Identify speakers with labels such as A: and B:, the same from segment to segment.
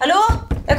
A: Hallo? Jeg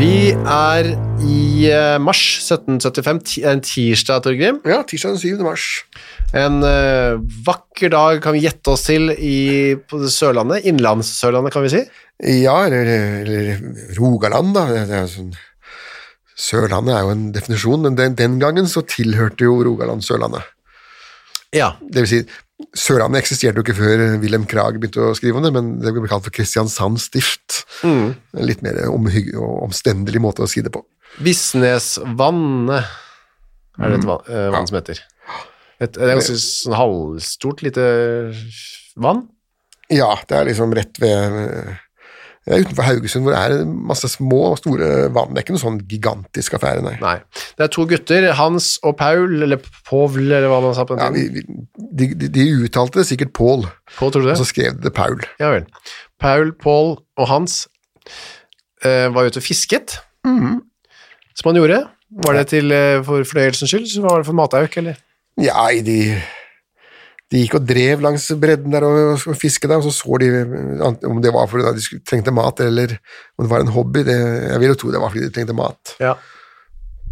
B: Vi er i eh, mars 1775, ti- en tirsdag, Torgrim.
C: Ja, tirsdag den 7. mars.
B: En eh, vakker dag kan vi gjette oss til i, på Sørlandet. Innlandssørlandet, kan vi si.
C: Ja, eller, eller Rogaland, da. Det er jo sånn, Sørlandet er jo en definisjon, men den, den gangen så tilhørte jo Rogaland Sørlandet.
B: Ja.
C: Det vil si, Sørlandet eksisterte jo ikke før Wilhelm Krag begynte å skrive om det, men det ble kalt for Kristiansand stift. En litt mer omhygg- og omstendelig måte å si det på.
B: Visnesvannet er det et vann, eh, vann som heter. Et, det er ganske sånn halvstort lite vann.
C: Ja, det er liksom rett ved det er utenfor Haugesund, hvor det er masse små og store vann. Det er ikke noen sånn gigantisk affære, nei.
B: Nei. Det er to gutter, Hans og Paul, eller Povl, eller hva man sa på
C: Ja,
B: den
C: vi,
B: tiden.
C: vi, de, de, de uttalte det sikkert Pål,
B: Pål, tror du det?
C: og så skrev de det Paul.
B: Ja vel. Paul, Paul og Hans eh, var ute og fisket, Mm-hmm. som han gjorde. Var det til, eh, for fornøyelsens skyld, så var det for matauk, eller?
C: Ja, i de, de gikk og drev langs bredden der og, og fisket der, og så så de eh, an- om det var fordi de skulle- trengte mat, eller om det var en hobby. Det, jeg vil jo tro det var fordi de trengte mat.
B: Ja.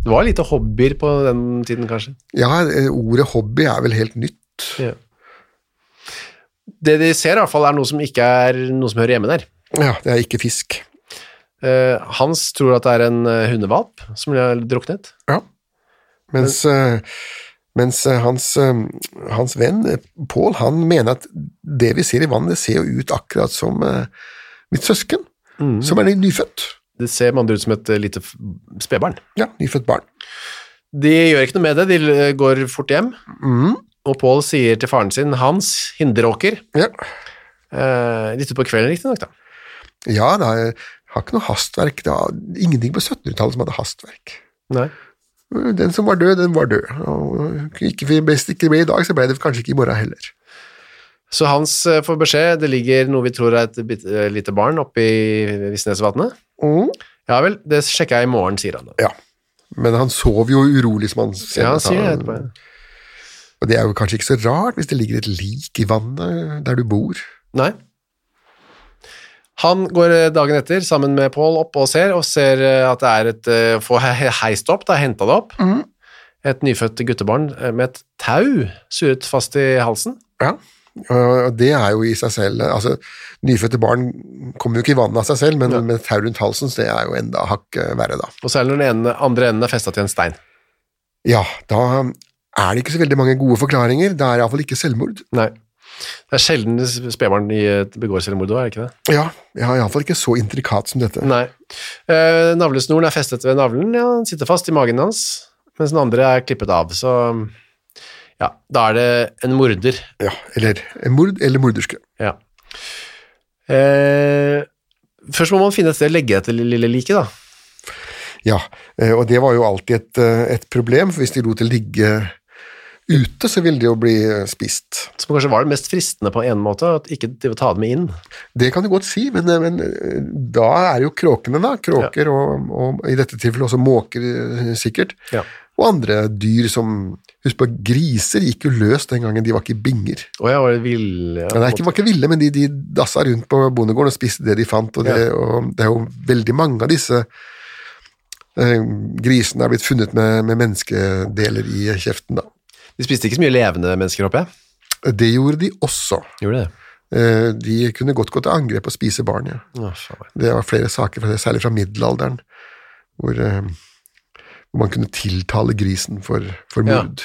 B: Det var lite hobbyer på den tiden, kanskje.
C: Ja, eh, ordet hobby er vel helt nytt.
B: Ja. Det de ser, i hvert fall, er noe som ikke er noe som hører hjemme der.
C: Ja, det er ikke fisk.
B: Eh, Hans tror at det er en eh, hundevalp som har druknet.
C: Ja. Mens, eh, mens eh, hans, eh, hans venn eh, Pål, han mener at det vi ser i vannet, det ser jo ut akkurat som eh, mitt søsken, som er nyfødt.
B: Det ser med andre ut som et eh, lite f- spedbarn.
C: Ja, nyfødt barn.
B: De gjør ikke noe med det, de eh, går fort hjem.
C: Mm.
B: Og Pål sier til faren sin, Hans Hinderåker,
C: Ja,
B: eh, litt utpå kvelden riktignok, da.
C: ja det er, har ikke noe hastverk. Det var ingenting på 1700-tallet som hadde hastverk.
B: Nei.
C: Den som var død, den var død. Og ikke, hvis det ikke ble i dag, så ble det kanskje ikke i morgen heller.
B: Så Hans eh, får beskjed, det ligger noe vi tror er et bit- eh, lite barn oppe i Visnesvatnet. Mm.
C: Mhm.
B: Ja vel, det sjekker jeg i morgen, sier han da.
C: Ja. Men han sov jo urolig, som han senere
B: Ja, han
C: sa.
B: sier det etterpå. ja.
C: Og det er jo kanskje ikke så rart hvis det ligger et lik i vannet der du bor.
B: Nei. Han går eh, dagen etter sammen med Pål opp og ser, og ser eh, at det er et eh, Får he- heist opp, da, henta det opp. Et nyfødt guttebarn eh, med et tau surret fast i halsen.
C: Ja. Og det er jo i seg selv Altså, nyfødte barn kommer jo ikke i vannet av seg selv, men med tau rundt halsen, så det er jo enda hakket verre, da.
B: Og særlig når den ene, andre enden er festa til en stein.
C: Ja, da er det ikke så veldig mange gode forklaringer. Det er iallfall ikke selvmord.
B: Nei. Det er sjelden spedbarn i, eh, begår selvmord òg, er det ikke det?
C: Ja, ja iallfall ikke så intrikat som dette.
B: Nei. Eh, navlesnoren er festet ved navlen, ja, den sitter fast i magen hans, mens den andre er klippet av, så ja, da er det en morder.
C: Ja, eller en mord eller morderske.
B: Ja. Eh, først må man finne et sted å legge dette lille liket, da.
C: Ja, eh, og det var jo alltid et, eh, et problem, for hvis de lot det ligge ute, så vil det jo bli eh, spist.
B: Som kanskje var det mest fristende på en måte, at ikke de vil ta det med inn.
C: Det kan du godt si, men, men eh, da er jo kråkene, da. Kråker og, og i dette tilfellet også måker, eh, sikkert.
B: Ja.
C: Og andre dyr som Husk på, griser gikk jo løs den gangen de var ikke i binger.
B: Og jeg var vill... Ja,
C: Ja, det er ikke, var ikke ville, men de, de dassa rundt på bondegården og spiste det de fant. Og det, og det er jo veldig mange av disse eh, grisene er blitt funnet med, med menneskedeler i kjeften, da.
B: De spiste ikke så mye levende mennesker, håper jeg.
C: Det gjorde de også.
B: Gjorde de det?
C: Eh, de kunne godt gå til angrep og spise barn, ja.
B: Å, faen meg.
C: Det var flere saker, fra det, særlig fra middelalderen, hvor, eh, hvor man kunne tiltale grisen for, for
B: Ja.
C: mord.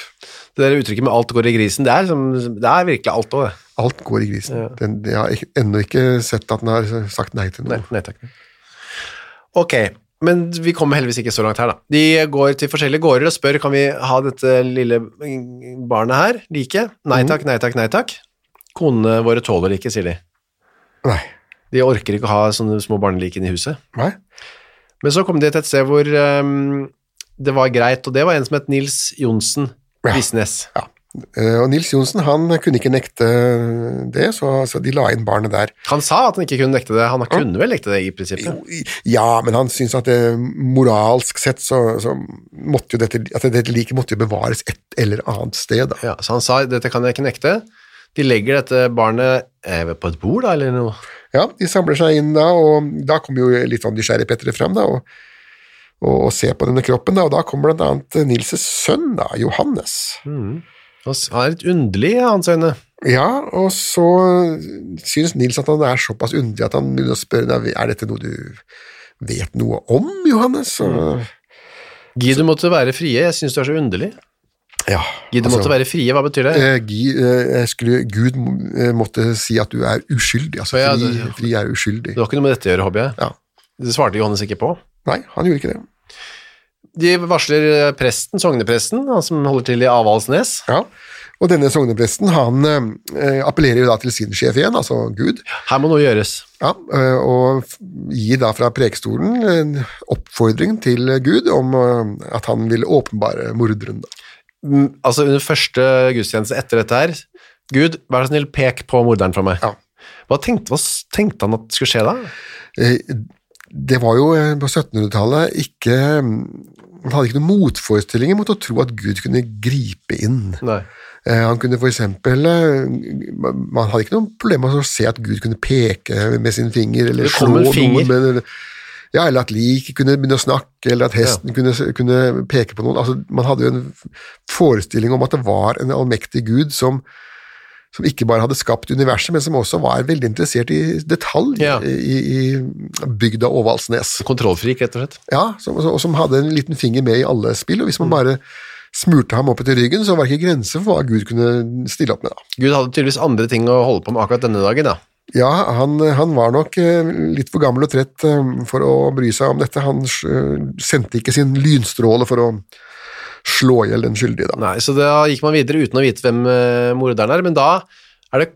B: Det der uttrykket med alt går i grisen, det er, som, det er virkelig alt også, det.
C: Alt går i grisen. Den, jeg har ikke- ennå ikke sett at den har sagt nei til noe.
B: Nei, nei takk. Ok, men vi kommer heldigvis ikke så langt her da. De går til forskjellige gårder og spør, kan vi ha dette lille barnet her, like? Nei
C: Mhm.
B: takk, nei takk, nei takk. Konene våre tåler ikke, sier de.
C: Nei.
B: De orker ikke å ha sånne små barnelike inn i huset.
C: Nei.
B: Men så kom de til et sted hvor ehm, det var greit, og det var en som het Nils Jonsen
C: Ja.
B: Visnes.
C: Ja. Eh, Og Nils Johnsen han kunne ikke nekte det, så, så de la inn barnet der.
B: Han sa at han ikke kunne nekte det. Han kunne vel nekte det i prinsippet.
C: Jo, i- Ja, men han syntes at det, moralsk sett så, så måtte jo dette, at dette liket måtte jo bevares et eller annet sted. Da.
B: Ja, så han sa, dette kan jeg ikke nekte. De legger dette barnet eh, på et bord da, eller noe.
C: Ja, De samler seg inn da, og da kommer jo litt sånn nysgjerrige Petter fram da, og, og, og ser på denne kroppen. da, og Da kommer blant annet Nils' sønn, da, Johannes.
B: Han s- han er litt underlig, i hans øyne.
C: Ja, og så synes Nils at han er såpass underlig at han begynner å spørre deg, er dette noe du vet noe om, Johannes? Og,
B: Gi, du måtte være frie. Jeg synes du er så underlig.
C: ja,
B: Gi, du måtte være frie. Hva betyr det?
C: Altså- eh, Gi- eh, jeg skulle, Gud eh, måtte si at du er uskyldig, altså
B: Å, ja,
C: fri,
B: det-
C: fri er
B: Det
C: uskyldig.
B: har ikke noe med dette å gjøre, hobby.
C: Ja.
B: Det svarte Johannes ikke på.
C: Nei, han gjorde ikke det.
B: De varsler eh, presten, sognepresten, han som holder til i Avaldsnes.
C: Ja. Og denne sognepresten han eh, appellerer jo da til sin sjef igjen, altså Gud,
B: Her må noe gjøres.
C: ja, eh, og f- gir da fra prekestolen en oppfordring til Gud om eh, at han vil åpenbare morderen. Da.
B: Mm, Altså, under første gudstjeneste etter dette her, Gud, vær så snill, pek på morderen fra meg.
C: Ja.
B: Hva tenkte, hva s- tenkte han at skulle skje da?
C: Eh, Det var jo eh, på 1700-tallet ikke Man hadde ikke noen motforestillinger mot å tro at Gud kunne gripe inn.
B: Nei.
C: Eh, Han kunne for eksempel eh, Man man hadde ikke noen problemer med å se at Gud kunne peke med sin finger, eller
B: Det
C: slå
B: kom en finger.
C: noen med eller- ja, Eller at liket kunne begynne å snakke, eller at hesten kunne, kunne peke på noen. Altså, man hadde jo en forestilling om at det var en allmektig Gud som som ikke bare hadde skapt universet, men som også var veldig interessert i detalj
B: Ja.
C: i, i bygda Åvalsnes.
B: Kontrollfrik, rett og slett.
C: Ja, som, og som hadde en liten finger med i alle spill, og hvis man bare smurte ham opp etter ryggen, så var det ikke grenser for hva Gud kunne stille opp med. da.
B: Gud hadde tydeligvis andre ting å holde på med akkurat denne dagen, da.
C: Ja, han, han var nok eh, litt for gammel og trett eh, for å bry seg om dette. Han eh, sendte ikke sin lynstråle for å slå i hjel den skyldige, da.
B: Nei, så da gikk man videre uten å vite hvem eh, morderen er, men da er det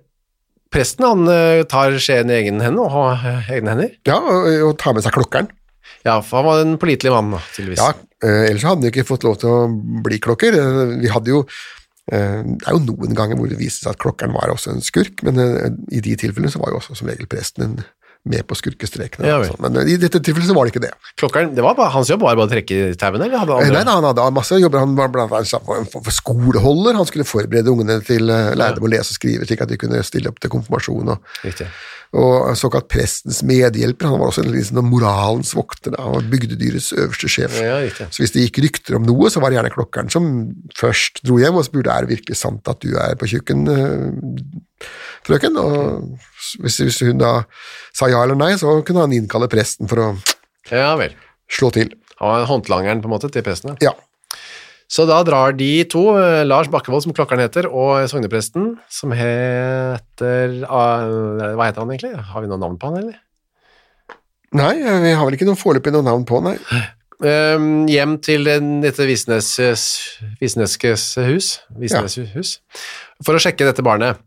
B: presten han eh, tar skjeen i egen hende og har eh, egne hender.
C: Ja, og, og ta med seg klokkeren.
B: Ja, for han var en pålitelig mann, da, tydeligvis.
C: Ja, eh, ellers hadde han jo ikke fått lov til å bli klokker. Eh, Vi hadde jo eh, det er jo noen ganger hvor det viste seg at klokkeren var også en skurk, men eh, i de tilfellene så var jo også som regel presten en med på skurkestrekene.
B: Ja,
C: altså. Men eh, i dette tilfellet så var det ikke det.
B: Klokkeren, det var bare, hans jobb var bare å trekke i tauene, eller hadde han
C: Eh,
B: andre?
C: Nei, nei, han hadde masse jobber. Han var blant annet for en form for skoleholder. Han skulle forberede ungene til eh, lære dem å lese og skrive, slik at de kunne stille opp til konfirmasjon. Og,
B: Riktig.
C: og såkalt prestens medhjelper. Han var også en liksom, moralens vokter. Da. Han var bygdedyrets øverste sjef.
B: Ja, riktig.
C: Så hvis det gikk rykter om noe, så var det gjerne klokkeren som først dro hjem og spurte er det virkelig sant at du er på kjøkken, eh, frøken. Og hvis, hvis hun da sa ja eller nei, så kunne han innkalle presten for å
B: Ja vel.
C: slå til.
B: Han var håndlangeren på en måte til presten. Ja.
C: Ja,
B: Så da drar de to, eh, Lars Bakkevold, som klokkeren heter, og sognepresten, som heter ah, Hva heter han egentlig? Har vi noe navn på han, eller?
C: Nei, eh, vi har vel ikke noe foreløpig noe navn på, nei.
B: Ehm, hjem til den- dette Visnes, Visneskes hus, Visnes hus for å sjekke dette barnet.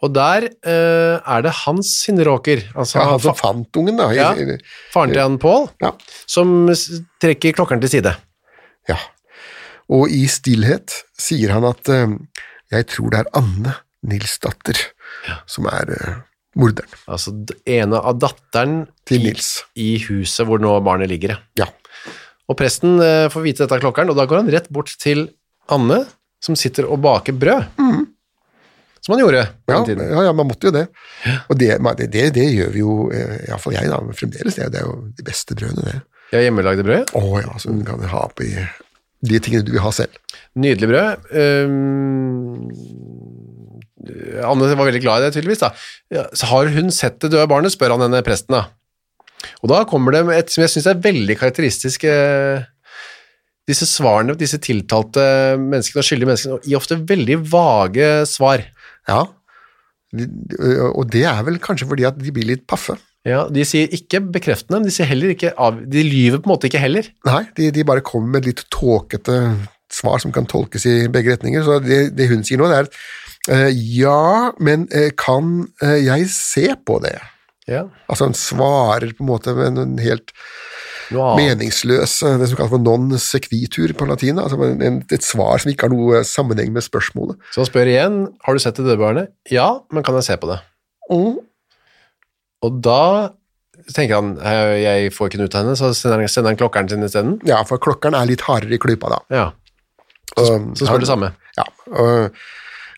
B: Og der eh, er det Hans Hinderåker, altså
C: Ja, han som
B: fa
C: fant ungen, da.
B: Ja.
C: I- i-
B: faren til han Pål,
C: Ja.
B: som s- trekker klokkeren til side.
C: ja. Og i stillhet sier han at eh, Jeg tror det er Anne Nilsdatter som er eh, morderen.
B: Altså d- ene av datteren
C: Til
B: i-
C: Nils.
B: i huset hvor nå barnet ligger. ja.
C: Ja.
B: Og presten eh, får vite dette av klokkeren, og da går han rett bort til Anne, som sitter og baker brød. Som han gjorde på
C: Mm. Ja,
B: den tiden.
C: ja, ja, man måtte jo det. Og det, men det, det, det gjør vi jo, eh, iallfall jeg, da, fremdeles. Det, er- det er jo de beste brødene, det.
B: Ja, hjemmelagde brød.
C: Å ja, så du kan ha oppi de tingene du vil ha selv.
B: Nydelig brød. Um, Anne var veldig glad i det, tydeligvis. da. Ja, så har hun sett det døde barnet, spør han denne presten. da. Og da kommer det et som jeg syns er veldig karakteristisk eh, Disse svarene, disse tiltalte menneskene og skyldige menneskene gir ofte veldig vage svar.
C: Ja. De- de- Og det er vel kanskje fordi at de blir litt paffe.
B: Ja, De sier ikke bekreftende, men de, sier heller ikke av, de lyver på en måte ikke heller.
C: Nei, de, de bare kommer med litt tåkete svar som kan tolkes i begge retninger. Så det, det hun sier nå, det er eh, ja, men eh, kan eh, jeg se på det?
B: Ja,
C: Altså hun svarer på en måte med en helt
B: noe annet.
C: meningsløs, eh, det som kalles for non sequitur på latin, da. altså en- en, et svar som ikke har noe sammenheng med spørsmålet.
B: Så han spør igjen, har du sett det døde barnet? Ja, men kan jeg se på det?
C: Mm.
B: Og da tenker han, «Eh, jeg får ikke den ut av henne, så sender han, sender han klokkeren sin i stedet.
C: Ja, for klokkeren er litt hardere i klypa da.
B: Ja,
C: Og
B: så spør
C: han-
B: det samme.
C: Ja, og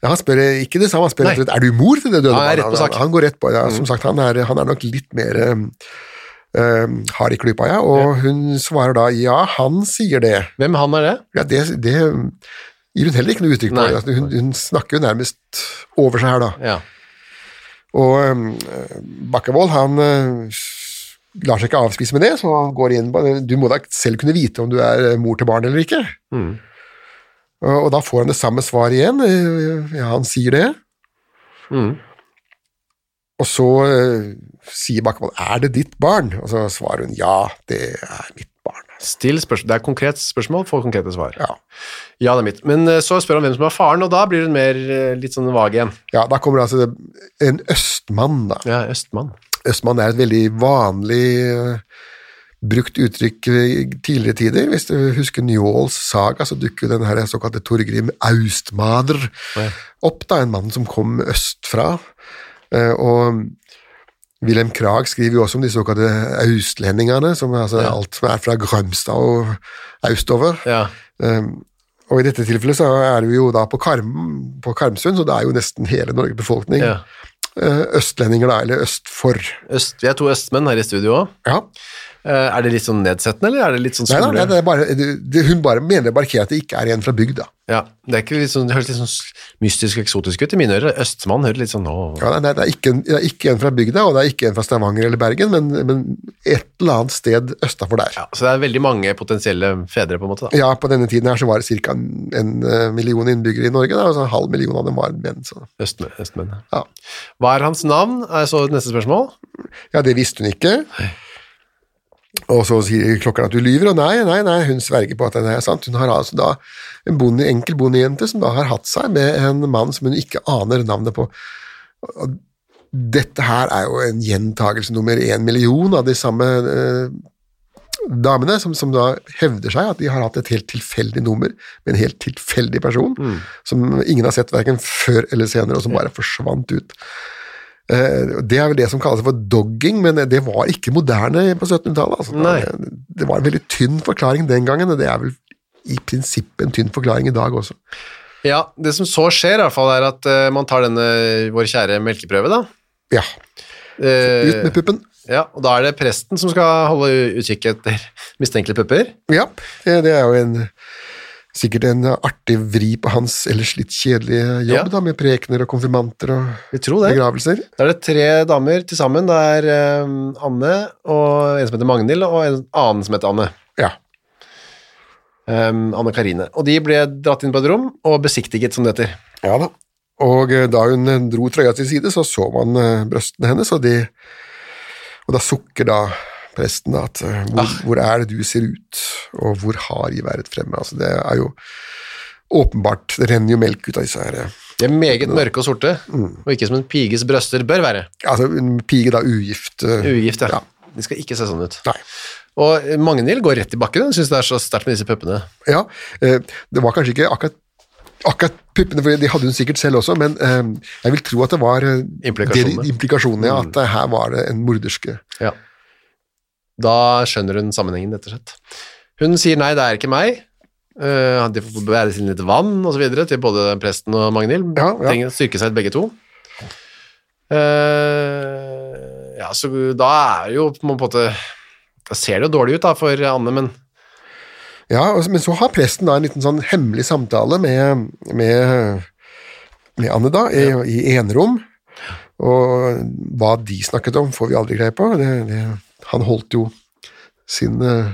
C: ja, han spør ikke det samme, han spør
B: Nei.
C: rett og slett, er du mor til det døde
B: Han er rett på
C: barnet?
B: sak. Mm.
C: Han, han går rett på, ja, som sagt, han er, han er nok litt mer um, um, hard i klypa, ja, og hun svarer da, ja, han sier det.
B: Hvem han er det?
C: Ja, det, det gir hun heller ikke noe uttrykk på.
B: Nei.
C: Altså, Hun, hun snakker jo nærmest over seg her da.
B: Ja.
C: Og um, Bakkevold, han uh, lar seg ikke avspise med det, så han går inn på Du må da selv kunne vite om du er eh, mor til barn eller ikke. Og, og da får han det samme svaret igjen. eh, Ja, han sier det. Og så eh, sier Bakkevold 'er det ditt barn?' Og så svarer hun 'ja, det er mitt barn'.
B: Still spørsmål. Det er konkret spørsmål, får konkrete svar.
C: Ja.
B: Ja, det er mitt. Men eh, så spør han hvem som er faren, og da blir hun mer eh, litt sånn vag igjen.
C: ja, da kommer det altså en østmann, da.
B: Ja, Østmann.
C: Østmann er et veldig vanlig eh, brukt uttrykk i tidligere tider. Hvis du husker Njåls saga, så dukker jo den her såkalte Torgrim Austmader opp, da, en mann som kom østfra. Eh, Og Wilhelm Krag skriver jo også om de såkalte austlendingene, som er altså alt som er fra Grømstad og austover.
B: Ja.
C: Eh, Og i dette tilfellet så er vi jo da på, Karm, på Karmsund, så det er jo nesten hele Norges befolkning
B: Ja.
C: eh, østlendinger, da, eller øst for.
B: Øst, vi er to østmenn her i studio også.
C: Ja.
B: Eh, Er det litt sånn nedsettende, eller er det litt sånn
C: Nei, nei,
B: skumle?
C: nei, det er bare, det, det, hun bare mener å markere at det ikke er en fra bygda.
B: Ja, det, er ikke litt sånn, det høres litt sånn mystisk og eksotisk ut i mine ører. Østmann hører litt sånn åh.
C: Ja, nei, nei, det, er ikke, en- det er ikke en fra bygda, og det er ikke en fra Stavanger eller Bergen, men, men et eller annet sted østafor der. Ja.
B: Så det er veldig mange potensielle fedre, på en måte. da.
C: på denne tiden her så var det ca. en eh, million innbyggere i Norge, da, og så en halv million av dem var menn. Så.
B: Østmenn. østmenn.
C: Ja.
B: Hva er hans navn? Er så neste spørsmål.
C: ja, det visste hun ikke. Og så sier klokkeren at du lyver, og nei, nei, nei, hun sverger på at det er sant. Hun har altså da en bonde, enkel bondejente som da har hatt seg med en mann som hun ikke aner navnet på. Og dette her er jo en gjentagelse nummer én million av de samme eh, damene, som, som da hevder seg at de har hatt et helt tilfeldig nummer med en helt tilfeldig person,
B: Mm.
C: som ingen har sett verken før eller senere, og som bare forsvant ut. Eh, Det er vel det som kalles for dogging, men det var ikke moderne på 1700-tallet. Altså.
B: Nei.
C: Det- Det var en veldig tynn forklaring den gangen, og det er vel i prinsippet en tynn forklaring i dag også.
B: Ja, Det som så skjer, i hvert fall, er at eh, man tar denne vår kjære melkeprøve. da.
C: Ja,
B: Eh,
C: ut med puppen.
B: ja, og Da er det presten som skal holde u- utkikk etter mistenkelige pupper.
C: Ja, det, det er jo en, sikkert en artig vri på hans ellers litt kjedelige jobb,
B: Ja.
C: da, med prekener og konfirmanter og
B: Vi tror det.
C: begravelser.
B: Da er det tre damer til sammen. Det er eh, Anne, og en som heter Magnhild, og en annen som heter Anne.
C: Ja.
B: Ehm, Anne Karine. Og de ble dratt inn på et rom og besiktiget, som det heter.
C: ja da. Og eh, da hun eh, dro trøya til side, så så man eh, brøstene hennes, og, de, og da sukker da presten da, at eh, hvor,
B: Ah.
C: hvor er det du ser ut, og hvor har jeg vært fremme? Altså, det er jo åpenbart, det renner jo melk ut av disse her. eh,
B: De er meget mørke og sorte, og ikke som en piges brøster bør være.
C: Altså, en pige da, ugift. eh,
B: Ugift, Mm. ja.
C: ja.
B: De skal ikke se sånn ut.
C: Nei.
B: Og eh, Magnhild går rett i bakken, hun syns det er så sterkt med disse puppene.
C: Ja, eh, det var kanskje ikke akkurat akkurat puppene, for de hadde hun sikkert selv også, men eh, jeg vil tro at det var eh,
B: Implikasjonene.
C: det- implikasjonene ja, at eh, her var det en morderske.
B: Ja. Da skjønner hun sammenhengen, rett og slett. Hun sier nei, det er ikke meg. Eh, de får bære sin litt vann og så videre til både presten og Magnhild.
C: Ja, ja.
B: Trenger å styrke seg begge to. Eh, ja, så da er det jo på en måte Da ser det jo dårlig ut da for Anne, men
C: Ja, og, men så har presten da en liten sånn hemmelig samtale med, med, med Anne da, i, i enerom, og hva de snakket om får vi aldri greie på. Det, det, han holdt jo sin eh,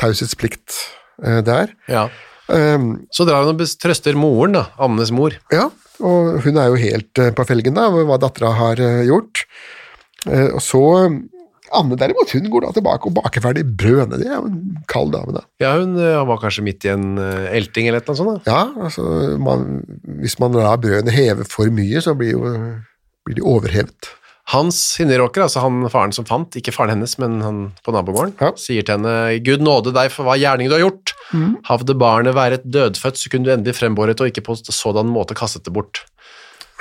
C: taushetsplikt eh, der.
B: ja.
C: Um,
B: Så drar hun og bes- trøster moren, da. Annes mor.
C: Ja, og hun er jo helt eh, på felgen da, med hva dattera har eh, gjort. Eh, Og så eh, Anne derimot, hun går da tilbake og baker ferdig brødene. Det er jo en kald dame, da.
B: Ja, hun eh, var kanskje midt i en eh, elting eller et eller annet sånt. da.
C: Ja, altså, man, hvis man lar brødene heve for mye, så blir, jo, blir de overhevet.
B: Hans hinneråker, altså han faren som fant, ikke faren hennes, men han på nabogården,
C: Ja.
B: sier til henne Gud nåde deg for hva gjerning du har gjort.
C: Mm.
B: Havde barnet være et dødfødt, så kunne du endelig frembåret og ikke på sådan måte kastet det bort.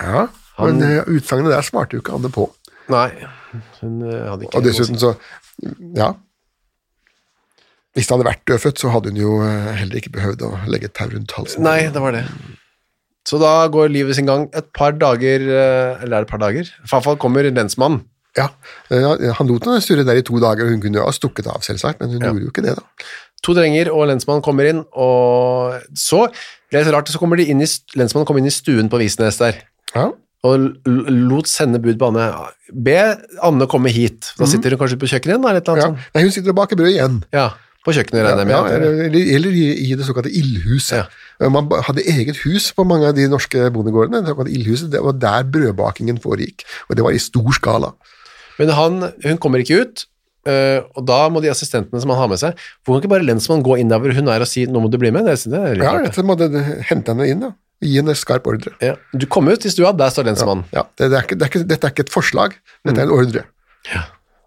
C: Ja,
B: Han-
C: Men eh, utsagnet der svarte jo ikke Anne på.
B: Nei, hun eh, hadde ikke
C: Og dessuten så Ja. Hvis det hadde vært dødfødt, så hadde hun jo eh, heller ikke behøvd å legge et tau rundt halsen.
B: Nei, det var det. Så da går livet sin gang et par dager, eh, eller er det et par dager? I hvert fall kommer lensmannen.
C: Ja, eh, Han lot henne surre der i to dager, og hun kunne jo ha stukket av, selvsagt, men hun gjorde jo ikke det, da.
B: To drenger og lensmannen kommer inn, og så, det er så rart, så kommer de inn i, st- lensmannen kommer inn i stuen på Visnes der.
C: Ja,
B: og l- lot sende bud på Anne. Be Anne komme hit. Da sitter hun kanskje på kjøkkenet igjen, da, eller et eller
C: Mhm. ja.
B: annet sånt.
C: Nei, hun sitter og baker brød igjen.
B: Ja, på kjøkkenet regner jeg med.
C: Sånn.
B: at
C: Ja,
B: det-
C: eller, eller i, i det såkalte ildhuset. Man ba- hadde eget hus på mange av de norske bondegårdene. Det såkalte ildhuset, det var der brødbakingen foregikk, og det var i stor skala.
B: Men han, hun kommer ikke ut, eh, og da må de assistentene som han har med seg, hvor kan ikke bare lensmannen gå inn der hvor hun er og si 'nå må du bli med'? Det, er- det er litt
C: Ja,
B: rart, det.
C: så måtte de hente henne inn da. og gi henne skarp ordre.
B: Ja. Du kom ut i stua, der står lensmannen.
C: Ja, det, det er ikke, det er ikke, dette er ikke et forslag, dette er en ordre.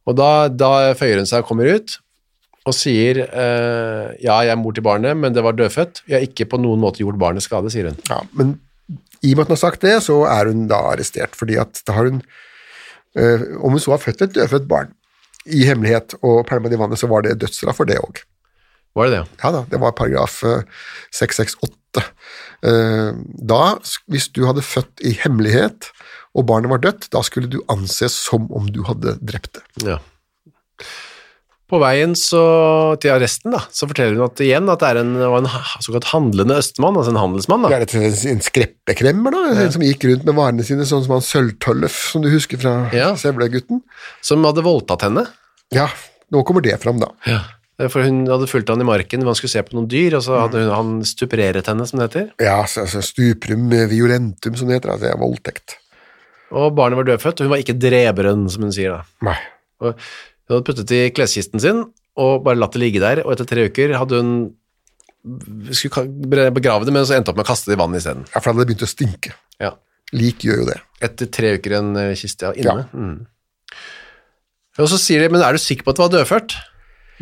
B: Og da, da føyer hun seg og kommer ut. Og sier eh, 'ja, jeg er mor til barnet, men det var dødfødt'. 'Jeg har ikke på noen måte gjort barnet skade', sier hun.
C: Ja, men i og med at hun har sagt det, så er hun da arrestert, fordi at da har hun, øh, om hun så har født et dødfødt barn i hemmelighet, og pælma det i vannet, så var det dødsstraff for det òg.
B: Var det det?
C: Ja da, det var paragraf øh, 668. Eh, Da, sk- hvis du hadde født i hemmelighet, og barnet var dødt, da skulle du anses som om du hadde drept det.
B: Ja. På veien så, til arresten da, så forteller hun at igjen at det er en, var en ha- såkalt handlende østmann, altså en handelsmann
C: Det
B: da.
C: er rett og slett en skreppekremmer, da, en som gikk rundt med varene sine, sånn som han Sølvtøllef, som du husker fra
B: Ja.
C: Sevlegutten.
B: Som hadde voldtatt henne, Eh,
C: Ja, nå kommer det fram, da.
B: for hun hadde fulgt han i marken, hvor han skulle se på noen dyr, og så hadde hun, han stupreret henne, som det heter.
C: Ja, altså, altså stuprum violentum, som det heter. Altså, det er voldtekt.
B: Og barnet var dødfødt, og hun var ikke dreveren, som hun sier da.
C: Nei.
B: Og hun hadde puttet i kleskisten sin, og bare latt det ligge der, og etter tre uker hadde hun skulle ka- begrave det, men så endte opp med å kaste det i vannet i stedet.
C: Ja, for da hadde det begynt å stinke.
B: Ja.
C: Lik gjør jo det.
B: Etter tre uker i en eh, kiste ja, inne.
C: Ja.
B: Mm. Og så sier de, men er du sikker på at det var dødfødt?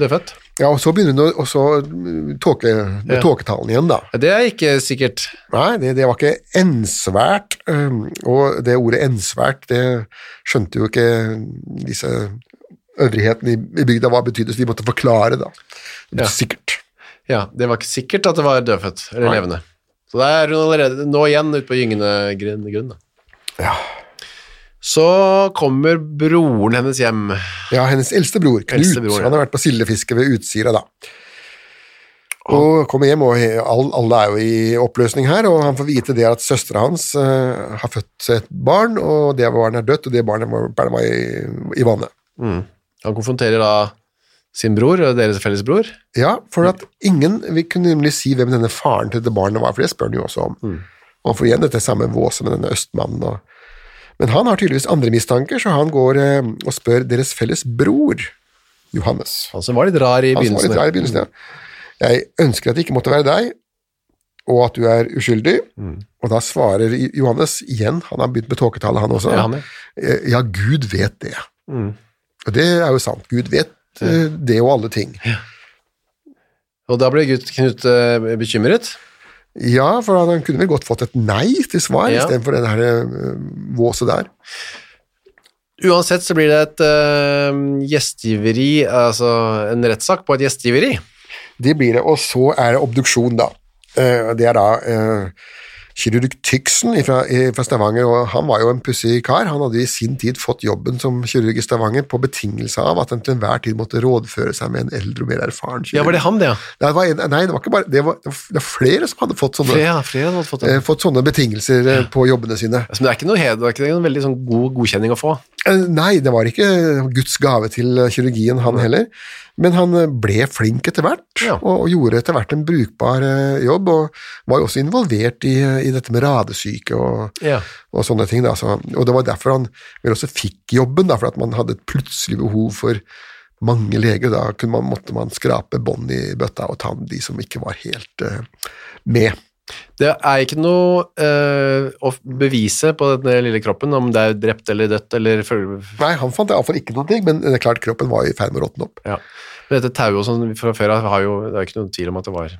B: Dødfødt?
C: Ja, og så begynner hun å og så, mm, tåke, med
B: Ja.
C: tåketalen igjen, da.
B: Ja, Det er ikke sikkert.
C: Nei, det, det var ikke ensvært, um, og det ordet ensvært, det skjønte jo ikke disse øvrighetene i, i bygda hva betydde, så de måtte forklare, da.
B: Ja.
C: Sikkert.
B: Ja, det var ikke sikkert at det var dødfødt, eller
C: Nei.
B: levende. Så det er hun allerede nå igjen ute på gyngende grunn. grunn, da.
C: Ja.
B: Så kommer broren hennes hjem.
C: Ja, hennes eldste bror, Knut,
B: Eldste bror, ja.
C: han har vært på sildefiske ved Utsira da. Og kommer hjem, og he- all- alle er jo i oppløsning her, og han får vite det at søstera hans eh, har født et barn, og det barnet er dødt, og det barnet var, barnet var i, i vannet.
B: Han konfronterer da sin bror, og deres felles bror.
C: Ja, for at ingen vil kunne nemlig si hvem denne faren til det barnet var, for det spør han jo også om.
B: Mm.
C: Og han får igjen dette samme våset med denne østmannen. Og... Men han har tydeligvis andre mistanker, så han går eh, og spør deres felles bror, Johannes.
B: Han som var litt rar i
C: Han som
B: begynnelsen. Mm.
C: var Altså, litt rar i begynnelsen, ja. Jeg ønsker at det ikke måtte være deg, og at du er uskyldig.
B: Mm.
C: Og da svarer I- Johannes igjen, han har begynt med tåketale, han også.
B: Ja, han, Mm. ja.
C: Eh, ja, Gud vet det. Og det er jo sant. Gud vet eh, det og alle ting.
B: Og da ble Gud Knut eh, bekymret.
C: Ja, for han kunne vel godt fått et nei til svar,
B: Ja.
C: istedenfor det her eh, våset der.
B: Uansett så blir det et øh, gjestgiveri, altså en rettssak på et gjestgiveri.
C: Det blir det, og så er det obduksjon, da. Eh, Det er da eh, kirurg Tyksen fra, fra Stavanger, og han var jo en pussig kar. Han hadde i sin tid fått jobben som kirurg i Stavanger på betingelse av at han til enhver tid måtte rådføre seg med en eldre og mer erfaren kirurg.
B: Ja, var det han det, ja?
C: Nei, det var, en, nei, det var ikke bare det var, det var- det var flere som hadde fått sånne,
B: Fredag, fredag hadde fått
C: eh,
B: den.
C: fått sånne betingelser eh, på jobbene sine.
B: Altså, men det er ikke noe hed, det er ikke noen veldig sånn god godkjenning å få.
C: Eh, Nei, det var ikke Guds gave til kirurgien, han heller. Men han eh, ble flink etter hvert,
B: Ja.
C: og og gjorde etter hvert en brukbar eh, jobb, og var jo også involvert i, eh, i dette med radesyke og,
B: Ja.
C: og sånne ting. Da. Så, og det var derfor han vel også fikk jobben, da, for at man hadde et plutselig behov for mange leger. Da kunne man, måtte man skrape bånd i bøtta og ta med de som ikke var helt eh, med.
B: Det er ikke noe øh, å bevise på den lille kroppen om det er drept eller dødt eller føl-
C: Nei, han fant iallfall ikke noen ting, men det er klart kroppen var i ferd med å råtne opp.
B: Ja. Men dette tauet og sånn fra før av har jo Det er ikke noen tvil om at det var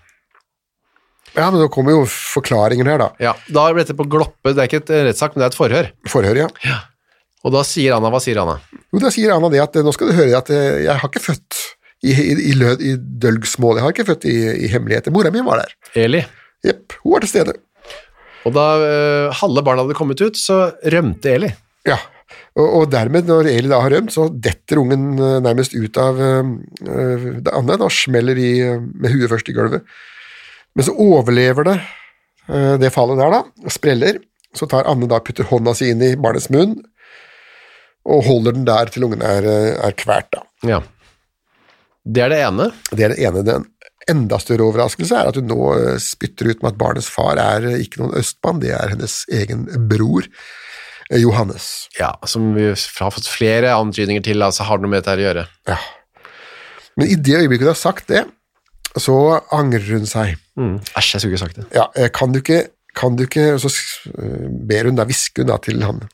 C: Ja, men nå kommer jo forklaringer her, da.
B: Ja, da ble dette på Gloppe. Det er ikke et eh, rettssak, men det er et forhør.
C: Forhør, ja.
B: Og da sier Anna Hva sier Anna?
C: Jo, da sier Anna det at eh, nå skal du høre at eh, jeg har ikke født i, i, i, lød, i dølgsmål, jeg har ikke født i, i hemmeligheter. Mora mi var der.
B: Eli.
C: Jepp, hun var til stede.
B: Og da eh, halve barna hadde kommet ut, så rømte Eli.
C: Ja, og, og dermed, når Eli da har rømt, så detter ungen eh, nærmest ut av eh, eh, det andre, da smeller de eh, med huet først i gulvet. Men så overlever det eh, det fallet der, da, og spreller. Så tar Anne da putter hånda si inn i barnets munn, og holder den der til ungen er, eh, er kvært, da.
B: Ja. Det er det ene.
C: Det er det ene. Den enda større overraskelse er at hun nå eh, spytter ut med at barnets far er eh, ikke noen østmann, det er hennes egen bror, eh, Johannes.
B: Ja, Som vi har fått flere antydninger til, altså har det noe med dette her å gjøre.
C: Ja. Men i det øyeblikket hun har sagt det, så angrer hun seg.
B: Æsj, jeg skulle ikke sagt det.
C: Ja, eh, kan du ikke, kan du ikke og Så s- eh, ber hun da, hvisker hun da til han,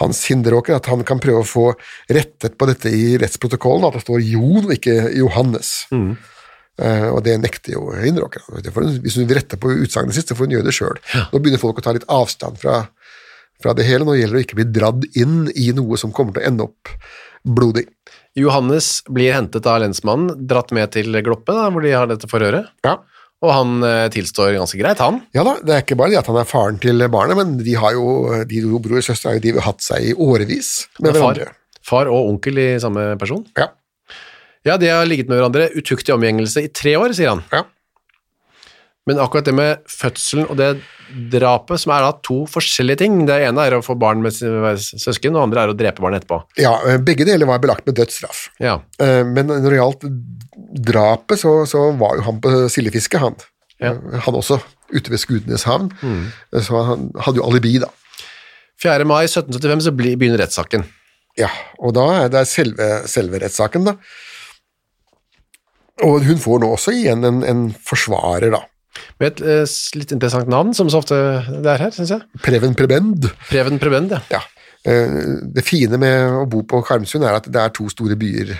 C: Hans Hinderåker at han kan prøve å få rettet på dette i rettsprotokollen, at det står Jon og ikke Johannes. Eh, og det nekter jo Hinderåker. Det får hun- Hvis hun vil rette på utsagnet sitt, så får hun gjøre det sjøl. Nå begynner folk å ta litt avstand fra, fra det hele. Nå gjelder det å ikke bli dradd inn i noe som kommer til å ende opp blodig.
B: Johannes blir hentet av lensmannen, dratt med til Gloppe, da, hvor de har dette forhøret.
C: Ja.
B: Og han eh, tilstår ganske greit, han.
C: Ja da, det er ikke bare det at han er faren til barnet, men de har jo, de to bror og søster har jo de hatt seg i årevis med
B: Men far,
C: hverandre.
B: far og onkel i samme person.
C: Ja,
B: Ja, de har ligget med hverandre, utuktig omgjengelse i tre år, sier han.
C: ja.
B: Men akkurat det med fødselen og det drapet, som er da to forskjellige ting. Det ene er å få barn med sine søsken, og det andre er å drepe barn etterpå.
C: ja, eh, begge deler var belagt med dødsstraff.
B: Ja,
C: Eh, Men når det gjaldt drapet, så, så var jo han på sildefiske, han. Eh,
B: Ja.
C: Han også, ute ved Skudeneshavn. Så han hadde jo alibi, da.
B: 4. mai 1775 så bli- begynner rettssaken.
C: Ja, og da er det selve, selve rettssaken, da. Og hun får nå også igjen en, en forsvarer, da.
B: Med et eh, s- litt interessant navn, som så ofte det er her, syns jeg.
C: Preven Prebend.
B: Preben Prebend, ja.
C: ja. Eh, Det fine med å bo på Karmsund er at det er to store byer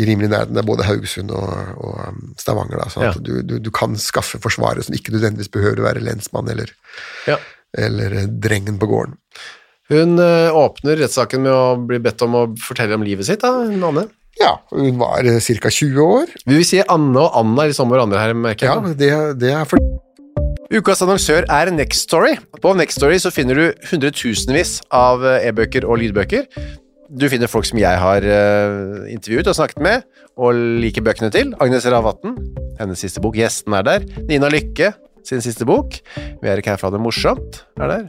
C: i rimelig nærheten. Det er både Haugesund og, og um, Stavanger. Da, sånn at
B: Ja.
C: du, du, du kan skaffe forsvarere som ikke nødvendigvis behøver å være lensmann eller,
B: ja.
C: eller eh, drengen på gården.
B: Hun eh, åpner rettssaken med å bli bedt om å fortelle om livet sitt, da, hun Anne.
C: Ja, hun var ca. 20 år.
B: Vi vil si Anne og Anna er i samme hverandre her, merker
C: Ja,
B: jeg.
C: det, det er for...
B: Ukas annonsør er Next Story. På Next Story så finner du hundretusenvis av eh, e-bøker og lydbøker. Du finner folk som jeg har eh, intervjuet og snakket med, og liker bøkene til. Agnes Ravatn, hennes siste bok. Gjesten er der. Nina Lykke, sin siste bok. Vi er ikke her for å ha det morsomt, er der.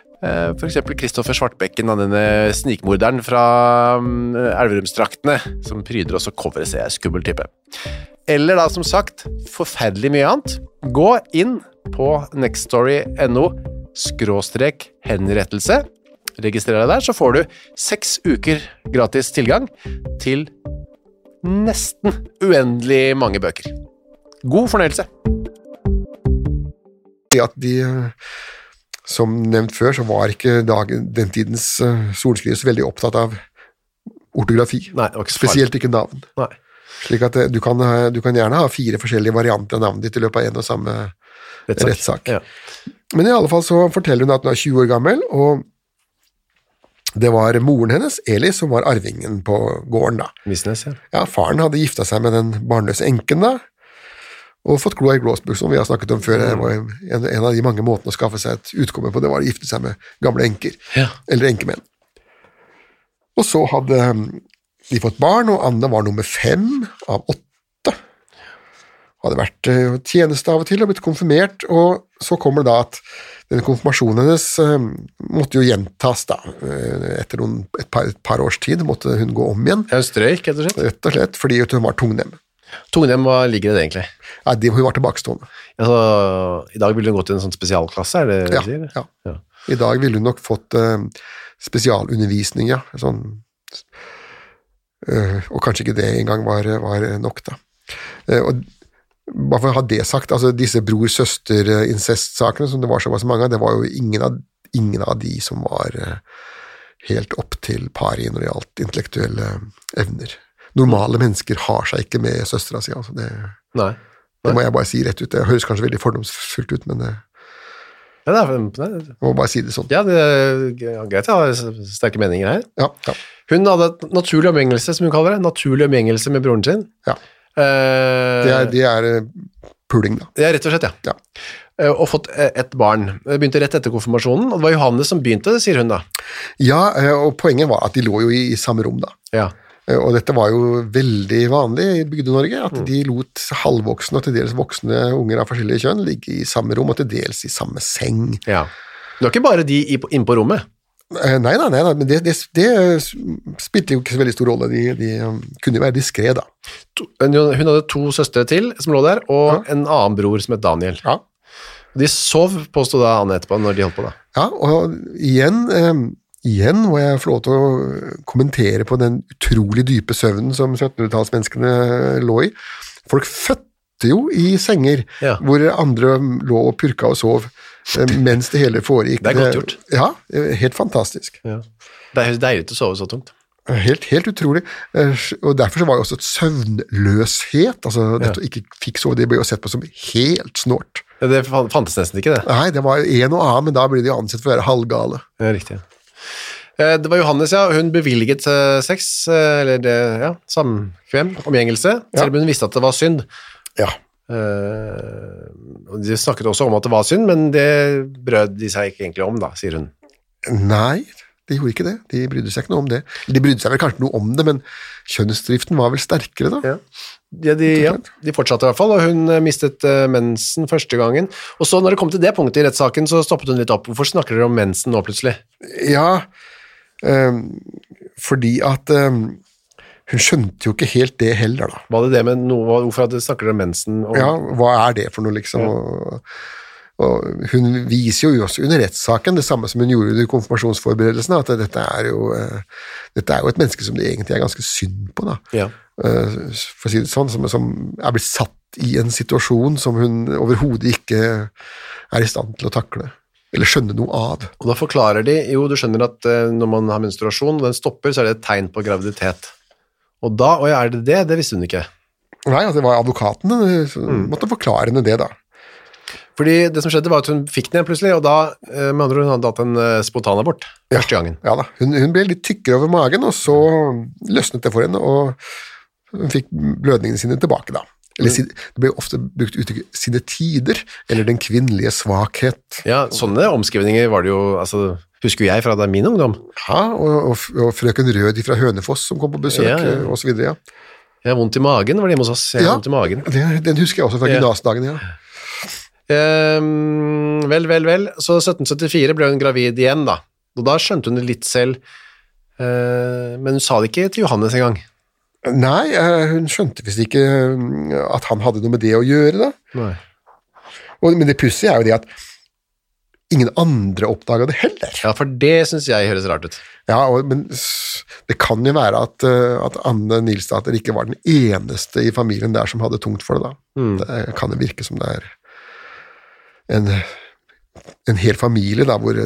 B: Eh, For eksempel Kristoffer Svartbekken, da, denne snikmorderen fra mm, Elverumsdraktene, som pryder oss og coveret ser jeg skummel type. Eller da, som sagt, forferdelig mye annet. Gå inn på nextstory.no skråstrek henrettelse Registrer deg der, så får du seks uker gratis tilgang til nesten uendelig mange bøker. God fornøyelse.
C: Det at de, eh, som nevnt før, så var ikke dagen, den tidens eh, sorenskrivere så veldig opptatt av ortografi.
B: Nei, det var ikke så farlig.
C: Spesielt ikke navn.
B: Nei.
C: Slik at eh, du kan, ha- du kan gjerne ha fire forskjellige varianter av navnet ditt i løpet av en og samme
B: Rettssak.
C: rettssak.
B: Ja.
C: Men i alle fall så forteller hun at hun er 20 år gammel, og det var moren hennes, Eli, som var arvingen på gården da.
B: Visnes, ja.
C: Ja, faren hadde gifta seg med den barnløse enken da, og fått kloa i Gråsbukk, som vi har snakket om før. Det var en, en av de mange måtene å skaffe seg et utkomme på, det var å gifte seg med gamle enker,
B: Ja.
C: eller enkemenn. Og så hadde um, de fått barn, og Anne var nummer fem av åtte. Hadde vært eh, tjeneste av og til og blitt konfirmert, og så kommer det da at denne konfirmasjonen hennes eh, måtte jo gjentas, da. Eh, Etter noen, et, par, et par års tid måtte hun gå om igjen.
B: Jeg strøyk, rett og slett.
C: Rett og slett fordi at hun var tungnem.
B: Tungnem, hva ligger i det egentlig?
C: Nei, de, hun var tilbakestående.
B: Altså, I dag ville hun gått til en sånn spesialklasse, er det det
C: Ja,
B: du sier?
C: ja. I dag ville hun nok fått eh, spesialundervisning, ja. Sånn, eh, og kanskje ikke det engang var, var nok, da. Eh, og bare for å ha det sagt, altså disse bror-søster-incest-sakene som det var såpass mange av, det var jo ingen av, ingen av de som var eh, helt opp til pari når det gjaldt intellektuelle evner. Normale mennesker har seg ikke med søstera si, altså. Det,
B: Nei.
C: det må jeg bare si rett ut. Det høres kanskje veldig fordomsfullt ut, men eh,
B: Ja, det er, nei.
C: jeg må bare si det sånn.
B: ja, det er ja, greit, jeg har sterke meninger her.
C: Ja, ja.
B: Hun hadde et naturlig omgjengelse, som hun kaller det. Naturlig omgjengelse med broren sin.
C: Ja.
B: Eh,
C: Det er, det er eh, puling, da.
B: Ja, rett og slett, ja.
C: Ja.
B: Eh, Og fått eh, et barn. Det Begynte rett etter konfirmasjonen, og det var Johannes som begynte, sier hun da.
C: Ja, eh, og poenget var at de lå jo i, i samme rom, da.
B: Ja.
C: Eh, Og dette var jo veldig vanlig i Bygde-Norge, at de lot halvvoksne og til dels voksne unger av forskjellige kjønn ligge i samme rom, og til dels i samme seng.
B: ja. Det var ikke bare de i- inne på rommet.
C: Eh, Nei da, nei da, men det, det, det eh, spilte jo ikke så veldig stor rolle. De, de um, kunne jo være diskré, da.
B: To- eh, Hun hun hadde to søstre til som lå der, og en annen bror som het Daniel.
C: Ja.
B: De sov, påstod da Anne etterpå, når de holdt på da.
C: Ja, og igjen, eh, igjen må jeg få lov til å kommentere på den utrolig dype søvnen som 1700-tallsmenneskene lå i. Folk fødte jo i senger
B: Ja.
C: hvor andre lå og purka og sov eh, mens det hele foregikk.
B: Det er godt gjort.
C: Ja, eh, helt fantastisk.
B: Det er deilig å sove så tungt.
C: Helt, helt utrolig. Eh, Og derfor så var jo også et søvnløshet, altså dette å ikke fikk sove, det ble jo sett på som helt snålt.
B: Ja, Det fan- fantes nesten ikke, det.
C: Nei, det var en og annen, men da ble de ansett for å være halvgale.
B: Ja, riktig. Eh, Det var Johannes, ja. Hun bevilget eh, sex, eh, eller det, ja, samkvem, omgjengelse, selv om hun visste at det var synd.
C: Ja.
B: Eh, og de snakket også om at det var synd, men det brød de seg ikke egentlig om, da, sier hun.
C: Nei, de gjorde ikke det. De brydde seg ikke noe om det. De brydde seg vel kanskje noe om det, men kjønnsdriften var vel sterkere da.
B: Ja. Ja, de, ja, de fortsatte i hvert fall, og hun eh, mistet eh, mensen første gangen. Og så når det kom til det punktet i rettssaken, så stoppet hun litt opp. Hvorfor snakker dere om mensen nå plutselig?
C: Eh, Ja, øhm, fordi at øhm, hun skjønte jo ikke helt det heller da.
B: Var det det med noe, hvorfor hadde- snakker dere om mensen? Og,
C: Ja, hva er det for noe liksom? Og, og hun viser jo også under rettssaken det samme som hun gjorde under konfirmasjonsforberedelsene, at dette er jo, øh, dette er jo et menneske som det egentlig er ganske synd på da.
B: Ja.
C: eh, for å si det sånn, som, som er blitt satt i en situasjon som hun overhodet ikke er i stand til å takle, eller skjønne noe av.
B: Og da forklarer de, jo du skjønner at eh, når man har menstruasjon og den stopper, så er det et tegn på graviditet. Og da, og ja, er det det? Det visste hun ikke.
C: Nei, at det var advokaten eh, som måtte forklare henne det, da.
B: Fordi det som skjedde var at hun fikk den igjen plutselig, og da, eh, med andre ord, hun hadde hatt en eh, spontanabort første gangen.
C: Ja da, hun, hun ble litt tykkere over magen, og så løsnet det for henne, og hun fikk blødningene sine tilbake, da. Eller, si- det ble ofte brukt uttrykket 'sine tider', eller 'den kvinnelige svakhet'.
B: Ja, sånne omskrivninger var det jo, altså, husker jo jeg fra da min ungdom.
C: Ja, og, og, og frøken Rød fra Hønefoss som kom på besøk,
B: Ja, ja.
C: eh, og så videre, ja.
B: Jeg har vondt i magen, var det hjemme hos oss. Jeg har
C: Ja.
B: vondt i magen.
C: Den, den husker jeg også fra
B: Ja.
C: gymnasdagene, ja.
B: Ehm, vel, vel, vel. Så 1774 ble hun gravid igjen, da. Og da skjønte hun det litt selv. Eh, men hun sa det ikke til Johannes engang.
C: Nei, eh, hun skjønte visst ikke mm, at han hadde noe med det å gjøre, da.
B: Nei.
C: Og, men det pussige er jo det at ingen andre oppdaga det heller.
B: Ja, for det syns jeg høres rart ut.
C: Ja, og, Men s- det kan jo være at, eh, at Anne Nilsdatter ikke var den eneste i familien der som hadde tungt for det, da. Det kan jo virke som det er en, en hel familie da, hvor det,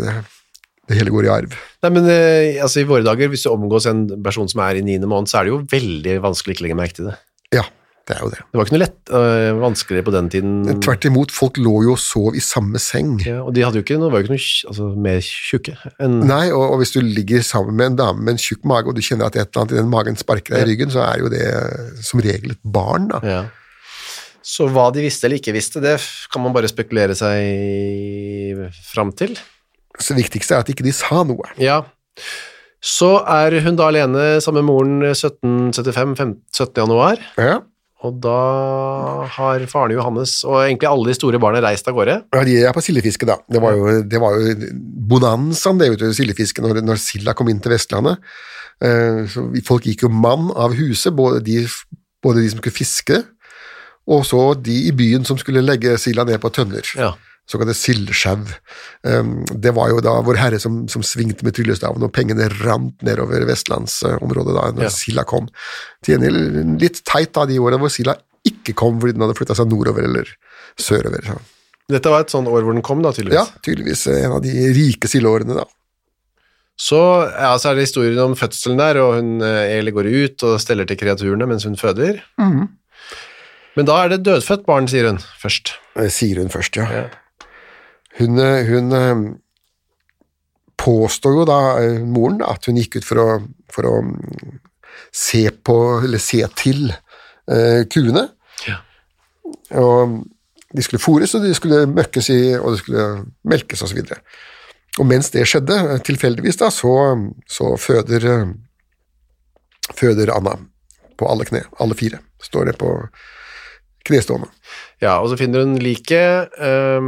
C: det hele går i arv.
B: Nei, men eh, altså, i våre dager, hvis du omgås en person som er i niende måned, så er det jo veldig vanskelig ikke legge merke til det.
C: Ja, det er jo det.
B: Det var ikke noe lett, eh, vanskeligere på den tiden.
C: Tvert imot, folk lå jo og sov i samme seng.
B: Ja, og de hadde jo ikke noe, var jo ikke noe tj- altså, mer tjukke enn
C: Nei, og, og hvis du ligger sammen med en dame med en tjukk mage, og du kjenner at et eller annet i den magen sparker deg i ryggen, så er jo det eh, som regel et barn, da.
B: ja. Så hva de visste eller ikke visste, det f- kan man bare spekulere seg fram til.
C: Så det viktigste er at ikke de sa noe.
B: Ja. Så er hun da alene sammen med moren 1775, fem- 17. januar,
C: Ja,
B: og da har faren Johannes og egentlig alle de store barna reist av gårde.
C: Ja, de er på sildefiske, da. Det var jo, det var jo bonanzaen, det, vet du, sildefiske, når, når silda kom inn til Vestlandet. Eh, så vi- folk gikk jo mann av huset, både de, både de som skulle fiske, og så de i byen som skulle legge silda ned på tønner.
B: Ja.
C: Såkalte sildsjau. Um, det var jo da Vår Herre som, som svingte med tryllestaven, og pengene rant nedover vestlandsområdet da når
B: Ja.
C: silda kom. Til gjengjeld litt teit da de årene hvor silda ikke kom fordi den hadde flytta seg nordover eller sørover. Så.
B: Dette var et sånt år hvor den kom, da, tydeligvis.
C: Ja, tydeligvis eh, en av de rike sildeårene, da.
B: Så, ja, så er det historien om fødselen der, og hun eh, Eli går ut og steller til kreaturene mens hun føder.
C: Mm-hmm.
B: Men da er det dødfødt barn, sier hun først.
C: Eh, Sier hun først, ja. Hun, eh, hun eh, påstår jo da, eh, moren, da, at hun gikk ut for å, for å mm, se på, eller se til eh, kuene.
B: Ja.
C: Og de skulle fôres, og de skulle møkkes i, og de skulle melkes osv. Og, så og mens det skjedde, eh, tilfeldigvis, da, så, så føder, eh, føder Anna på alle kne. Alle fire står det på knestående.
B: Ja, og så finner hun liket, ehm,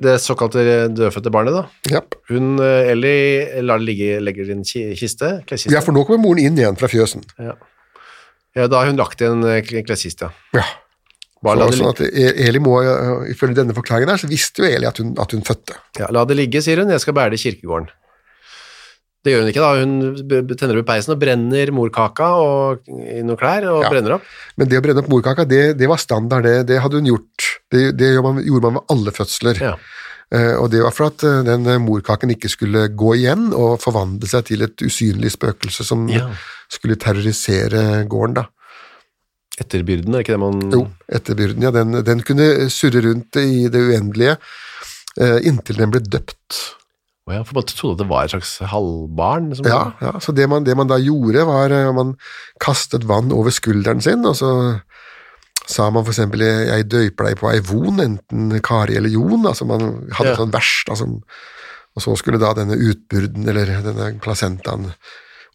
B: det såkalte dødfødte barnet da.
C: Japp.
B: Hun, eh, Eli, lar det ligge, legger det i en ki- kiste, kleskiste.
C: Ja, for nå kommer moren inn igjen fra fjøsen.
B: Ja, da har hun lagt i en eh, kle- kleskiste, ja.
C: Ja.
B: Bare la
C: Så,
B: det,
C: sånn
B: ligge-
C: at E- Eli må, øh, ifølge denne forklaringen her, så visste jo Eli at hun, at hun fødte.
B: ja, la det ligge, sier hun, jeg skal bære det i kirkegården. Det gjør hun ikke da, hun b- b- tenner opp i peisen og brenner morkaka og, i noen klær og
C: Ja.
B: brenner opp.
C: Men det å brenne opp morkaka, det, det var standard, det, det hadde hun gjort. Det, det gjorde man, gjorde man ved alle fødsler.
B: Ja.
C: Eh, og det var for at eh, den eh, morkaken ikke skulle gå igjen og forvandle seg til et usynlig spøkelse som
B: Ja.
C: skulle terrorisere gården, da.
B: Etterbyrden, er ikke det man...
C: Jo, etterbyrden, ja. Den, den kunne surre rundt i det uendelige eh, inntil den ble døpt.
B: Å ja, for man trodde at det var et slags halvbarn. Som
C: Ja, ja. så det man, det man da gjorde var eh, man kastet vann over skulderen sin, og så sa man for eksempel jeg døyper deg på ei von, enten Kari eller Jon, altså man hadde
B: Ja.
C: sånn vers, da, som- og så skulle da denne utburden, eller denne placentaen,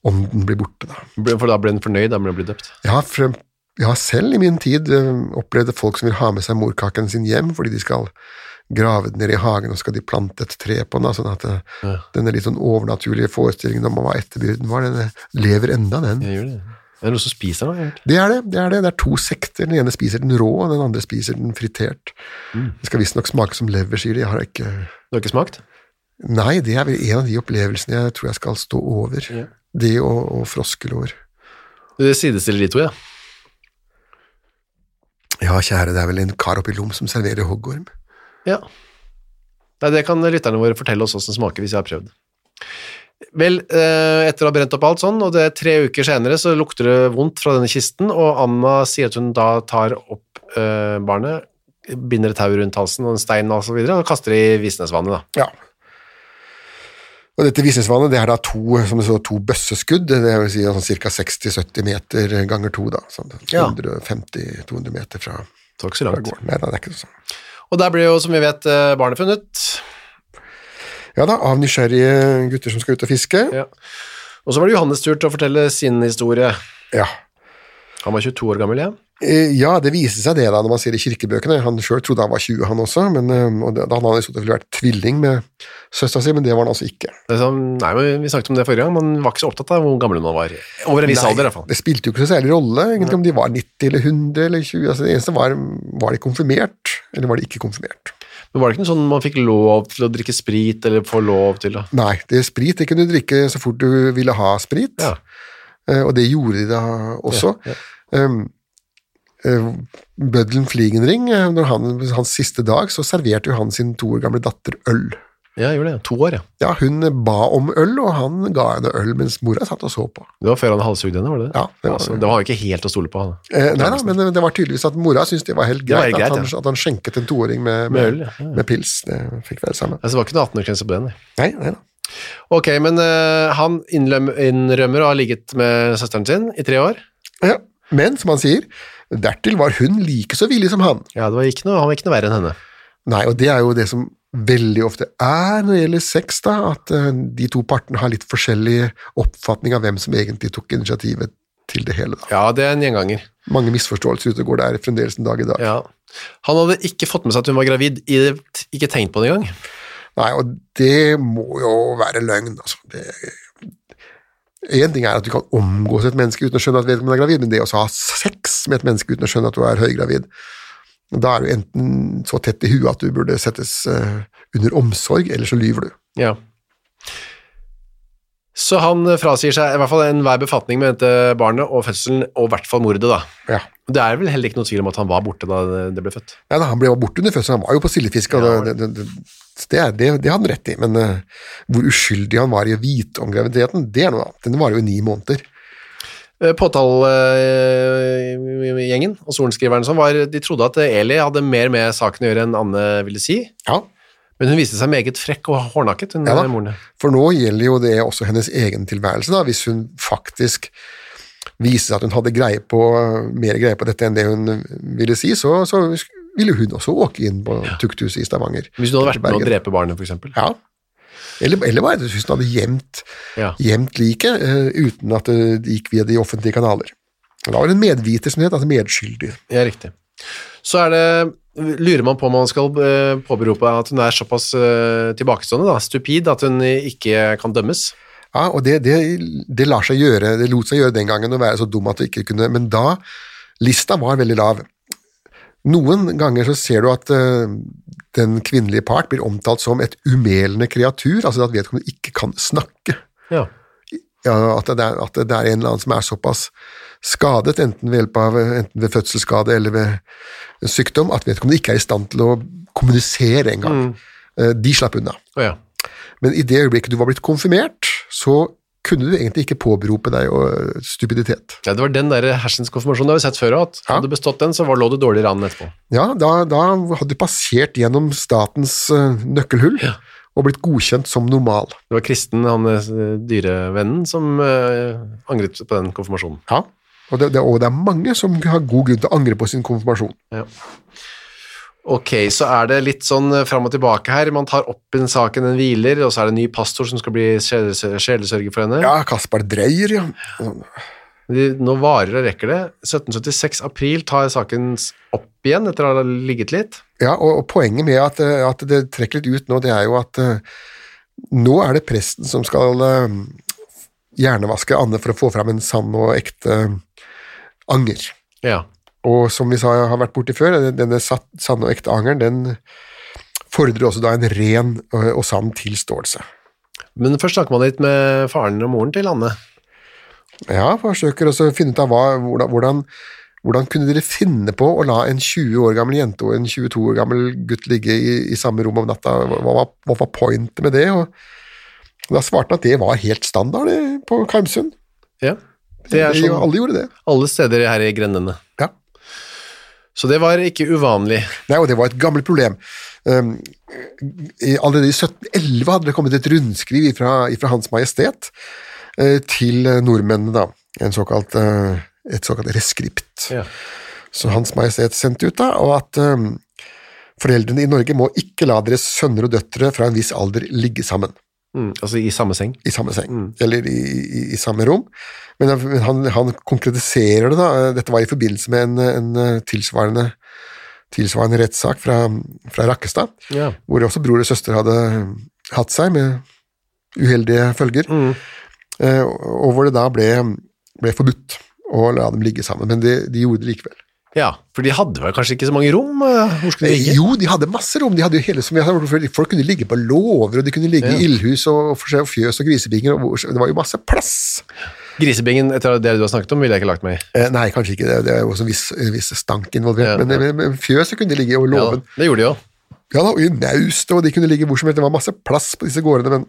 C: ånden bli borte da.
B: Ble- For da ble hun fornøyd, da ble hun blitt døpt.
C: Jeg har, frem, jeg har selv i min tid eh, opplevd folk som vil ha med seg morkaken sin hjem fordi de skal grave den ned i hagen og skal de plante et tre på den. da, Sånn at eh, denne litt sånn overnaturlige forestillingen om hva etterbyrden var, den eh, lever enda, den.
B: Jeg gjør det. Det er noen som spiser den, har jeg hørt.
C: Det er det. Det er det. Det er to sekter. Den ene spiser den rå, og den andre spiser den fritert. Det skal visstnok smake som lever, sier de. Jeg har ikke
B: Du har ikke smakt?
C: Nei, det er vel en av de opplevelsene jeg tror jeg skal stå over. Det og, og froskelår.
B: Det sidestiller de to, ja.
C: Ja, kjære, det er vel en kar oppi Lom som serverer hoggorm.
B: Ja. Nei, det kan lytterne våre fortelle oss hvordan det smaker hvis jeg har prøvd. Vel, eh, etter å ha brent opp alt sånn, og det er tre uker senere, så lukter det vondt fra denne kisten, og Anna sier at hun da tar opp eh, barnet, binder et tau rundt halsen og en stein og så videre, og kaster det i Visnesvannet da.
C: Ja. Og dette visningsvannet det er da to, som det så, to bøsseskudd, det vil si sånn ca. 60-70 meter ganger to, da. Sånn
B: Ja.
C: 150-200 meter fra,
B: Det var ikke så
C: fra
B: langt.
C: gården. Nei da, det er ikke sånn.
B: Og der ble jo, som vi vet, eh, barnet funnet.
C: Ja da, av nysgjerrige gutter som skal ut og fiske. Ja.
B: Ja. Og så var det Johannes tur til å fortelle sin historie.
C: Ja.
B: Han var 22 år gammel, ja.
C: Eh, ja, det viste seg det da, når man ser i kirkebøkene. Han sjøl trodde han var 20, han også, men, eh, og da hadde han i så tilfelle vært tvilling med søstera si, men det var han altså ikke.
B: Det er sånn- nei, men Vi snakket om det forrige gang, man var ikke så opptatt av hvor gammel hun var. Over en viss
C: Nei,
B: alder, i hvert fall.
C: Det spilte jo ikke så særlig rolle egentlig, om de var 90 eller 100 eller 20. Altså, det eneste var var de konfirmert, eller var de ikke konfirmert.
B: Men var det ikke noe sånn man fikk lov til å drikke sprit, eller få lov til å
C: Nei, det er sprit. Det kunne du drikke så fort du ville ha sprit,
B: Ja.
C: Eh, og det gjorde de da også. Um, eh, Bøddelen Fligenring, eh, når han, hans siste dag, så serverte jo han sin to år gamle datter øl.
B: Ja, jeg gjorde det. To år, ja.
C: Ja, hun ba om øl, og han ga henne øl mens mora satt og så på.
B: Det var før han halshugde henne, var det det?
C: Ja, det var
B: så
C: det.
B: det var jo ikke helt å stole på. Han.
C: Eh, nei da, men det var tydeligvis at mora syntes det var helt
B: Det var
C: greit,
B: helt
C: at,
B: greit,
C: han,
B: ja.
C: at han skjenket en toåring med,
B: Med øl, ja. Ja, ja.
C: med pils. Det fikk være det samme.
B: Altså, det var ikke noe 18-årsgrense på den. nei.
C: Nei, nei da.
B: Ok, men eh, han innløm, innrømmer å ha ligget med søsteren sin i tre år.
C: Ja. Men som han sier, dertil var hun like så villig som han.
B: Ja, det var ikke noe, Han var ikke noe verre enn henne.
C: Nei, og det er jo det som veldig ofte er når det gjelder sex, da, at eh, de to partene har litt forskjellig oppfatning av hvem som egentlig tok initiativet til det hele. Da.
B: Ja, det er en gjenganger.
C: Mange misforståelser ute og går der fremdeles en dag i dag.
B: Ja. Han hadde ikke fått med seg at hun var gravid, i det, ikke tenkt på det engang.
C: Nei, og det må jo være løgn, altså. Det Én ting er at du kan omgås et menneske uten å skjønne at vedkommende er gravid, men det å ha sex med et menneske uten å skjønne at du er høygravid, da er du enten så tett i huet at du burde settes eh, under omsorg, eller så lyver du.
B: Ja. Så han eh, frasier seg i hvert fall enhver befatning med dette barnet og fødselen, og i hvert fall mordet, da.
C: Ja.
B: Det er vel heller ikke noe tvil om at han var borte da det ble født.
C: Nei, da, han ble jo borte under fødselen, han var jo på sildefiske, og det, det, det, det, er- det, det hadde han rett i, men eh, hvor uskyldig han var i å vite om graviditeten, det er noe annet. Den varer jo i ni måneder.
B: Eh, Påtalegjengen og sorenskriveren som var, de trodde at Eli hadde mer med saken å gjøre enn Anne ville si,
C: Ja,
B: men hun viste seg meget frekk og hårnakket, hun
C: Ja da.
B: eh, moren.
C: For nå gjelder jo det også hennes egen tilværelse, da, hvis hun faktisk viser at hun hadde greie på, mer greie på dette enn det hun ville si, så, så ville hun også åke inn på tukthuset i Stavanger.
B: Hvis hun hadde vært med å
C: Bergen.
B: drepe barnet, for eksempel.
C: Ja. Eller, eller bare at hun hadde gjemt,
B: Ja.
C: gjemt liket eh, uten at det gikk via de offentlige kanaler. Og Da var hun medviter, som det het, altså medskyldig.
B: Ja, riktig. Så er det Lurer man på om man skal eh, påberope at hun er såpass eh, tilbakestående, da, stupid, at hun eh, ikke kan dømmes?
C: Ja, og det, det, det lar seg gjøre, det lot seg gjøre den gangen å være så dum at du ikke kunne, men da, lista var veldig lav. Noen ganger så ser du at eh, den kvinnelige part blir omtalt som et umelende kreatur, altså at vedkommende ikke kan snakke.
B: Ja.
C: Ja, at, det er, at det er en eller annen som er såpass skadet, enten ved hjelp av enten ved fødselsskade eller ved sykdom, at vedkommende ikke er i stand til å kommunisere engang. Eh, De slapp unna.
B: Å ja.
C: Men i det øyeblikket du var blitt konfirmert, så kunne du egentlig ikke påberope deg øh, stupiditet.
B: ja. Det var den der hersens konfirmasjonen det har vi sett før òg. Hadde du bestått den, så var, lå du dårligere an etterpå.
C: Ja, da, da hadde du passert gjennom statens øh, nøkkelhull og blitt godkjent som normal.
B: Det var Kristen, han eh, dyrevennen, som eh, angret på den konfirmasjonen.
C: Ja. Og det, det, og det er mange som har god grunn til å angre på sin konfirmasjon.
B: Ok, så er det litt sånn eh, fram og tilbake her. Man tar opp en saken, den hviler, og så er det en ny pastor som skal bli sjelesø- sjelesørger for henne.
C: Ja, Kaspar Dreyer, ja.
B: De, nå varer og rekker det. 1776 april tar saken s- opp igjen etter å ha ligget litt.
C: ja og, og poenget med at, øh, at det trekker litt ut nå, det er jo at øh, nå er det presten som skal øh, hjernevaske Anne for å få fram en sann og ekte eh, anger.
B: Ja.
C: Og som vi sa har vært borti før, denne satt- sanne og ekte angeren, den fordrer også da en ren ø, og sann tilståelse.
B: Men først snakker man litt med faren og moren til Anne.
C: Ja, forsøker også å finne ut av hva, hvordan, hvordan, hvordan kunne dere finne på å la en 20 år gammel jente og en 22 år gammel gutt ligge i, i samme rom om natta, hva, hva, hva var pointet med det? Og da svarte han at det var helt standard det, på Karmsund.
B: Ja. Det er
C: Det-
B: sånn
C: Alle gjorde det.
B: alle steder her i grendene.
C: Ja.
B: Så det var ikke uvanlig.
C: Nei, og det var et gammelt problem. Um, i- allerede i 1711 hadde det kommet et rundskriv fra, Hans Majestet eh, til eh, nordmennene, da. En såkalt, eh, et såkalt reskript.
B: Ja.
C: Som Hans Majestet sendte ut, da, og at um, foreldrene i Norge må ikke la deres sønner og døtre fra en viss alder ligge sammen
B: Mm, altså i samme seng.
C: i samme seng, eller i, i, i samme rom. Men han- men han, han konkretiserer det, da. eh, Dette var i forbindelse med en, en tilsvarende, tilsvarende rettssak fra, fra Rakkestad,
B: Ja.
C: hvor også bror og søster hadde hatt seg med uheldige følger, eh, og hvor det da ble, ble forbudt å la dem ligge sammen, men det, de gjorde det likevel.
B: Ja, for de hadde vel kanskje ikke så mange rom? eh, Hvor skulle de ligge?
C: Jo, de hadde masse rom. De hadde jo hele, som jeg har hørt før, Folk kunne ligge på låver, og de kunne ligge i ildhus og for seg, og fjøs og grisebinger. Og, hvor- det var jo masse plass.
B: Grisebingen, etter det du har snakket om, ville jeg ikke lagt meg i.
C: Eh, nei, kanskje ikke. Det, det er jo også en viss, en viss stank involvert.
B: Ja,
C: men, eh, men, men fjøset kunne de ligge i, og
B: Ja,
C: låven.
B: det gjorde de jo.
C: Ja da, og i naustet, og de kunne ligge hvor som helst. Det var masse plass på disse gårdene, men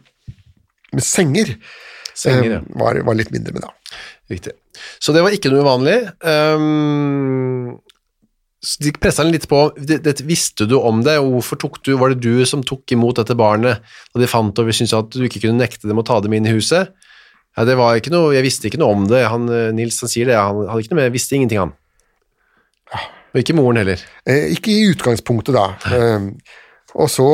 C: men senger,
B: Senger,
C: eh,
B: ja.
C: var, var litt mindre, men da.
B: Riktig. Så det var ikke noe uvanlig. Ehm, så de pressa den litt på det, det, Visste du om det, og hvorfor tok du, var det du som tok imot dette barnet? Og de fant og syntes at du ikke kunne nekte dem å ta dem inn i huset? Ja, det var ikke noe, Jeg visste ikke noe om det. Han, eh, Nils han sier det, han hadde ikke noe med, visste ingenting, han. Og ikke moren heller.
C: Eh, ikke i utgangspunktet, da. Eh, og så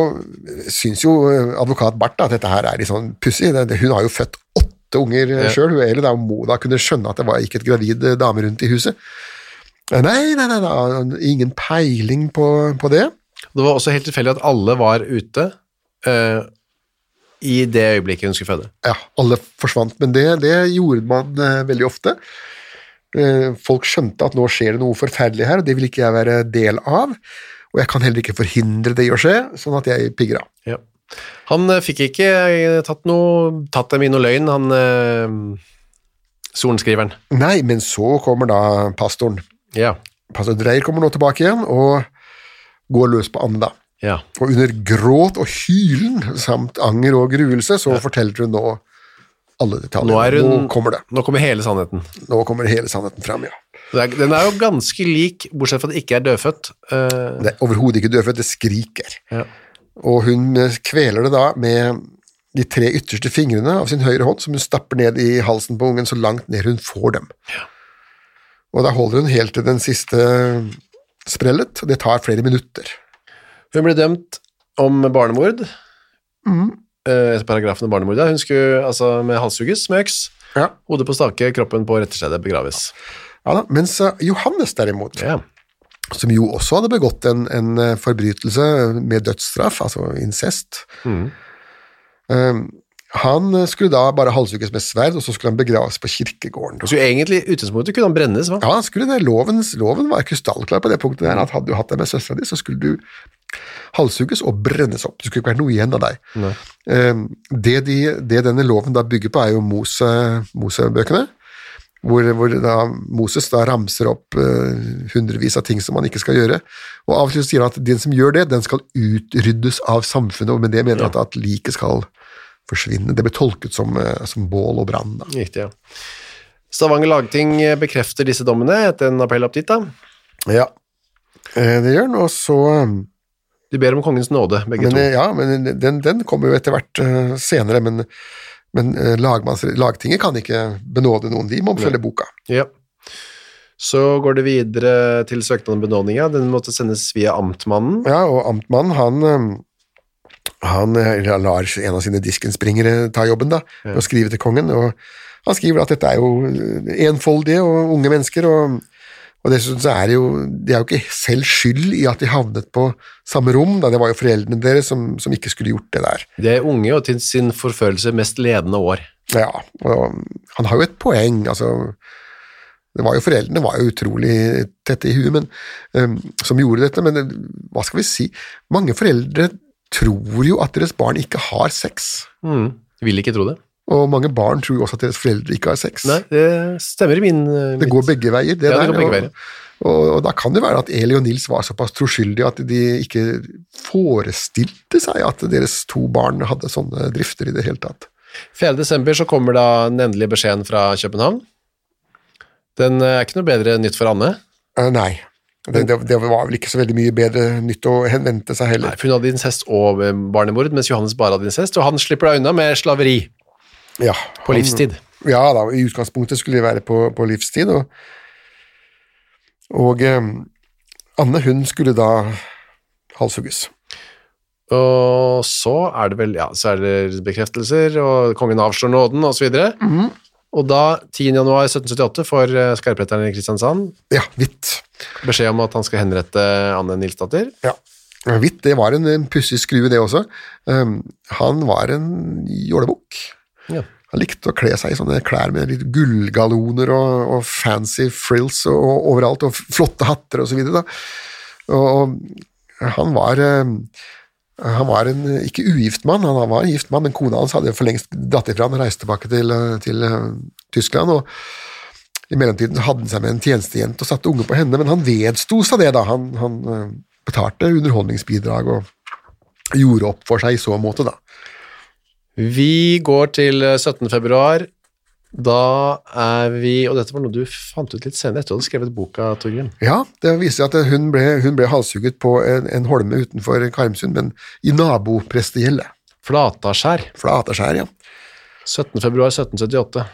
C: syns jo eh, advokat Barth da, at dette her er litt sånn pussig. Det- det- Hun har jo født åtte unger ja. sjøl, eller da må da kunne skjønne at det var ikke et gravid eh, dame rundt i huset. Eh, Nei, nei, nei, nei, ingen peiling på, på det.
B: Det var også helt tilfeldig at alle var ute eh, i det øyeblikket hun skulle føde.
C: Ja, alle forsvant, men det, det gjorde man eh, veldig ofte. Eh, folk skjønte at nå skjer det noe forferdelig her, og det vil ikke jeg være del av. Og jeg kan heller ikke forhindre det i å skje, sånn at jeg pigger av.
B: Ja. Han eh, fikk ikke eh, tatt, noe, tatt dem i noe løgn, han eh, sorenskriveren.
C: Nei, men så kommer da pastoren.
B: Ja.
C: Pastor Dreyer kommer nå tilbake igjen og går løs på Anne, da.
B: ja.
C: Og under gråt og hylen samt anger og gruelse, så forteller hun nå alle
B: Nå, er
C: detaljer.
B: hun,
C: nå kommer det.
B: Nå kommer hele sannheten.
C: Nå kommer hele sannheten fram, ja.
B: Det er- Den er jo ganske lik, bortsett fra at det ikke er dødfødt. Eh,
C: Det er overhodet ikke døvfødt, det skriker.
B: Ja.
C: Og hun eh, kveler det da med de tre ytterste fingrene av sin høyre hånd, som hun stapper ned i halsen på ungen så langt ned hun får dem. Og da holder hun helt til den siste sprellet, og det tar flere minutter.
B: Hun ble dømt om barnemord. Eh, etter paragrafen om barnemord. ja. Hun skulle altså, med halshugges med øks.
C: Ja.
B: Hodet på stake, kroppen på retterstedet begraves.
C: Ja da, Mens eh, Johannes derimot,
B: Ja.
C: som jo også hadde begått en, en eh, forbrytelse med dødsstraff, altså incest, eh, han eh, skulle da bare halshugges med sverd, og så skulle han begraves på kirkegården.
B: Så egentlig, i utgangspunktet kunne han brennes, hva?
C: Ja, han skulle det. Lovens, loven var krystallklar på det punktet der, at hadde du hatt deg med søstera di, så skulle du halshugges og brennes opp. Det skulle ikke være noe igjen av deg. Eh, Det, de, det denne loven da bygger på, er jo Mose, Mosebøkene, hvor, hvor da Moses da ramser opp eh, hundrevis av ting som man ikke skal gjøre. Og av og til så sier han at den som gjør det, den skal utryddes av samfunnet, og med det mener han at, at liket skal forsvinne. Det ble tolket som, eh, som bål og brann. da.
B: Riktig, ja. Stavanger lagting bekrefter disse dommene etter en appell opp dit, da.
C: Ja. Det gjør han, og så eh,
B: De ber om kongens nåde, begge
C: Men,
B: to.
C: eh, ja, men den, den kommer jo etter hvert eh, senere, men, men eh, lagmanns, lagtinget kan ikke benåde noen, de må følge boka.
B: Ja. Så går det videre til søknaden om benådninga. Den måtte sendes via amtmannen.
C: Ja, og amtmannen, han, eh, han eh, lar en av sine diskenspringere ta jobben da, med å skrive til kongen, og han skriver at dette er jo eh, enfoldige og unge mennesker, og, og dessuten så er det jo, de er jo ikke selv skyld i at de havnet på samme rom, da det var jo foreldrene deres som, som ikke skulle gjort det der.
B: De er unge og til sin forførelse mest ledende år.
C: Ja, og han har jo et poeng, altså det var jo Foreldrene var jo utrolig tette i huet men, øhm, som gjorde dette, men øh, hva skal vi si Mange foreldre tror jo at deres barn ikke har sex,
B: Mm. Vil ikke tro det.
C: og mange barn tror jo også at deres foreldre ikke har sex.
B: Nei, det stemmer i min eh,
C: Det går begge veier, det
B: Ja, det
C: der.
B: går begge veier.
C: og, og, og da kan det være at Eli og Nils var såpass troskyldige at de ikke forestilte seg at deres to barn hadde sånne drifter i det hele tatt.
B: 4. desember så kommer da den endelige beskjeden fra København. Den eh, er ikke noe bedre nytt for Anne.
C: Eh, nei. Det, det, det var vel ikke så veldig mye bedre nytt å henvente seg
B: Nei,
C: heller.
B: for Hun hadde incest og eh, barnemord, mens Johannes bare hadde incest. Og han slipper da unna med slaveri
C: Ja,
B: på livstid.
C: ja da, i utgangspunktet skulle de være på, på livstid, og, og eh, Anne hun skulle da halshugges.
B: Og så er det vel ja, så er det bekreftelser, og kongen avslår nåden, osv. Mm. Og da, 10. januar 1778, får eh, skarpretteren i Kristiansand
C: Ja, hvitt.
B: beskjed om at han skal henrette Anne Nilsdatter.
C: Ja. Hvitt, det Ehm, var en, en pussig skrue, det også. Um, han var en jålebukk.
B: Ja.
C: Han likte å kle seg i sånne klær med litt gullgalloner og, og fancy frills og, og overalt, og flotte hatter og så videre. Da. Og, og han var eh, han var en eh, ikke ugift mann, han var en gift mann, men kona hans hadde for lengst dratt ifra han og reiste tilbake til, eh, til eh, Tyskland. og i mellomtiden så hadde han seg med en tjenestejente og satte unge på henne, men han vedsto seg det, da. Han, han eh, betalte underholdningsbidrag og gjorde opp for seg i så måte, da.
B: Vi går til eh, 17. februar. Da er vi Og dette var noe du fant ut litt senere etter at du hadde skrevet boka, Torgrim.
C: Ja, det viser seg at hun ble, hun ble halshugget på en, en holme utenfor Karmsund, men i naboprestegjeldet.
B: Flataskjær.
C: Flateskjær, ja.
B: 17. februar 1778.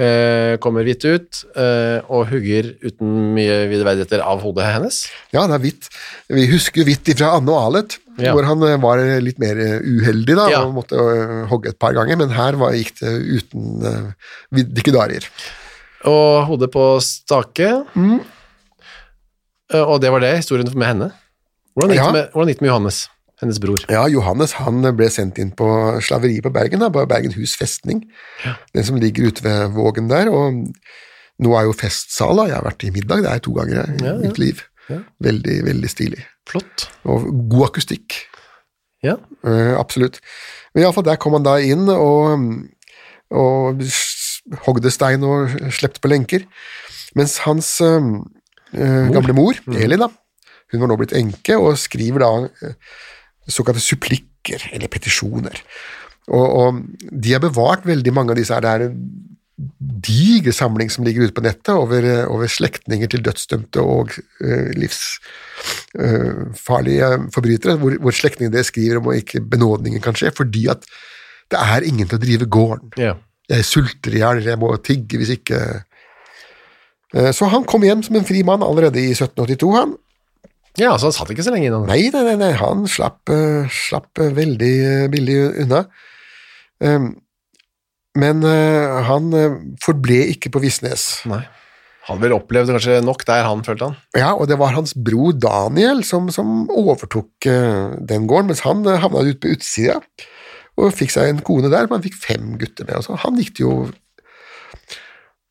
B: Eh, kommer hvitt ut eh, og hugger uten mye videreverdigheter av hodet hennes.
C: Ja, det er hvitt. Vi husker jo hvitt ifra Anne og Alet,
B: Ja.
C: hvor han eh, var litt mer eh, uheldig da,
B: Ja.
C: og måtte eh, hogge et par ganger, men her var, gikk det uten uh, dikkedarier.
B: Og hodet på stake. Eh, og det var det, historien med henne. Hvordan gikk,
C: Ja.
B: det, med, hvordan gikk det med Johannes, hennes bror?
C: Ja, Johannes han ble sendt inn på slaveri på Bergen, da, på Bergenhus festning. Den som ligger ute ved Vågen der. Og nå er jo festsal, da. Jeg har vært i middag der to ganger jeg, i
B: Ja, ja.
C: mitt liv. Veldig, veldig stilig.
B: Flott.
C: Og god akustikk.
B: Ja.
C: Eh, absolutt. Men iallfall der kom han da inn og, og s- hogde stein og slepte på lenker. Mens hans eh, eh, gamle mor, Elin, da, hun var nå blitt enke, og skriver da eh, såkalte supplikker, eller petisjoner. Og, og de har bevart veldig mange av disse her. Det er en diger samling som ligger ute på nettet over, eh, over slektninger til dødsdømte og eh, livs eh, farlige forbrytere, hvor, hvor slektningene deres skriver om at ikke benådningen kan skje, fordi at det er ingen til å drive gården.
B: ja.
C: Jeg sulter i hjel, jeg må tigge hvis ikke Eh, Så han kom hjem som en fri mann allerede i 1782, han.
B: ja, så han satt ikke så lenge innan.
C: Nei, nei, nei, nei. han slapp, eh, slapp eh, veldig eh, billig unna. Ehm, Men eh, han eh, forble ikke på Visnes.
B: Nei. Han vel opplevde kanskje nok der han følte han.
C: Ja, og det var hans bror Daniel som, som overtok eh, den gården, mens han eh, havna ute på utsida og fikk seg en kone der, men han fikk fem gutter med. Og så han gikk det jo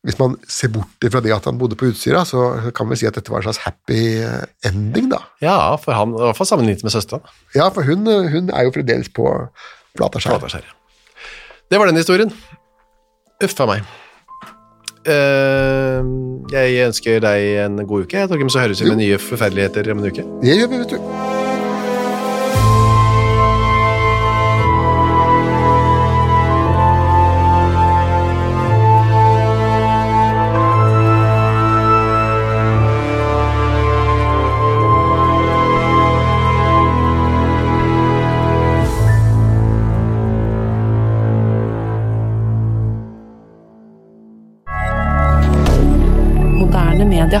C: Hvis man ser bort fra det at han bodde på Utsira, så kan vi si at dette var en slags happy eh, ending, da.
B: Ja, for han, i hvert fall sammenlignet med søsteren.
C: Ja, for hun, eh, hun er jo fremdeles på Flataskjær.
B: Flataskjær. Det var den historien. Uff a meg. Eh, jeg ønsker deg en god uke, Torgrim, så høres vi med nye forferdeligheter om en uke.
C: Det gjør vi, vet du.
D: Moderne media.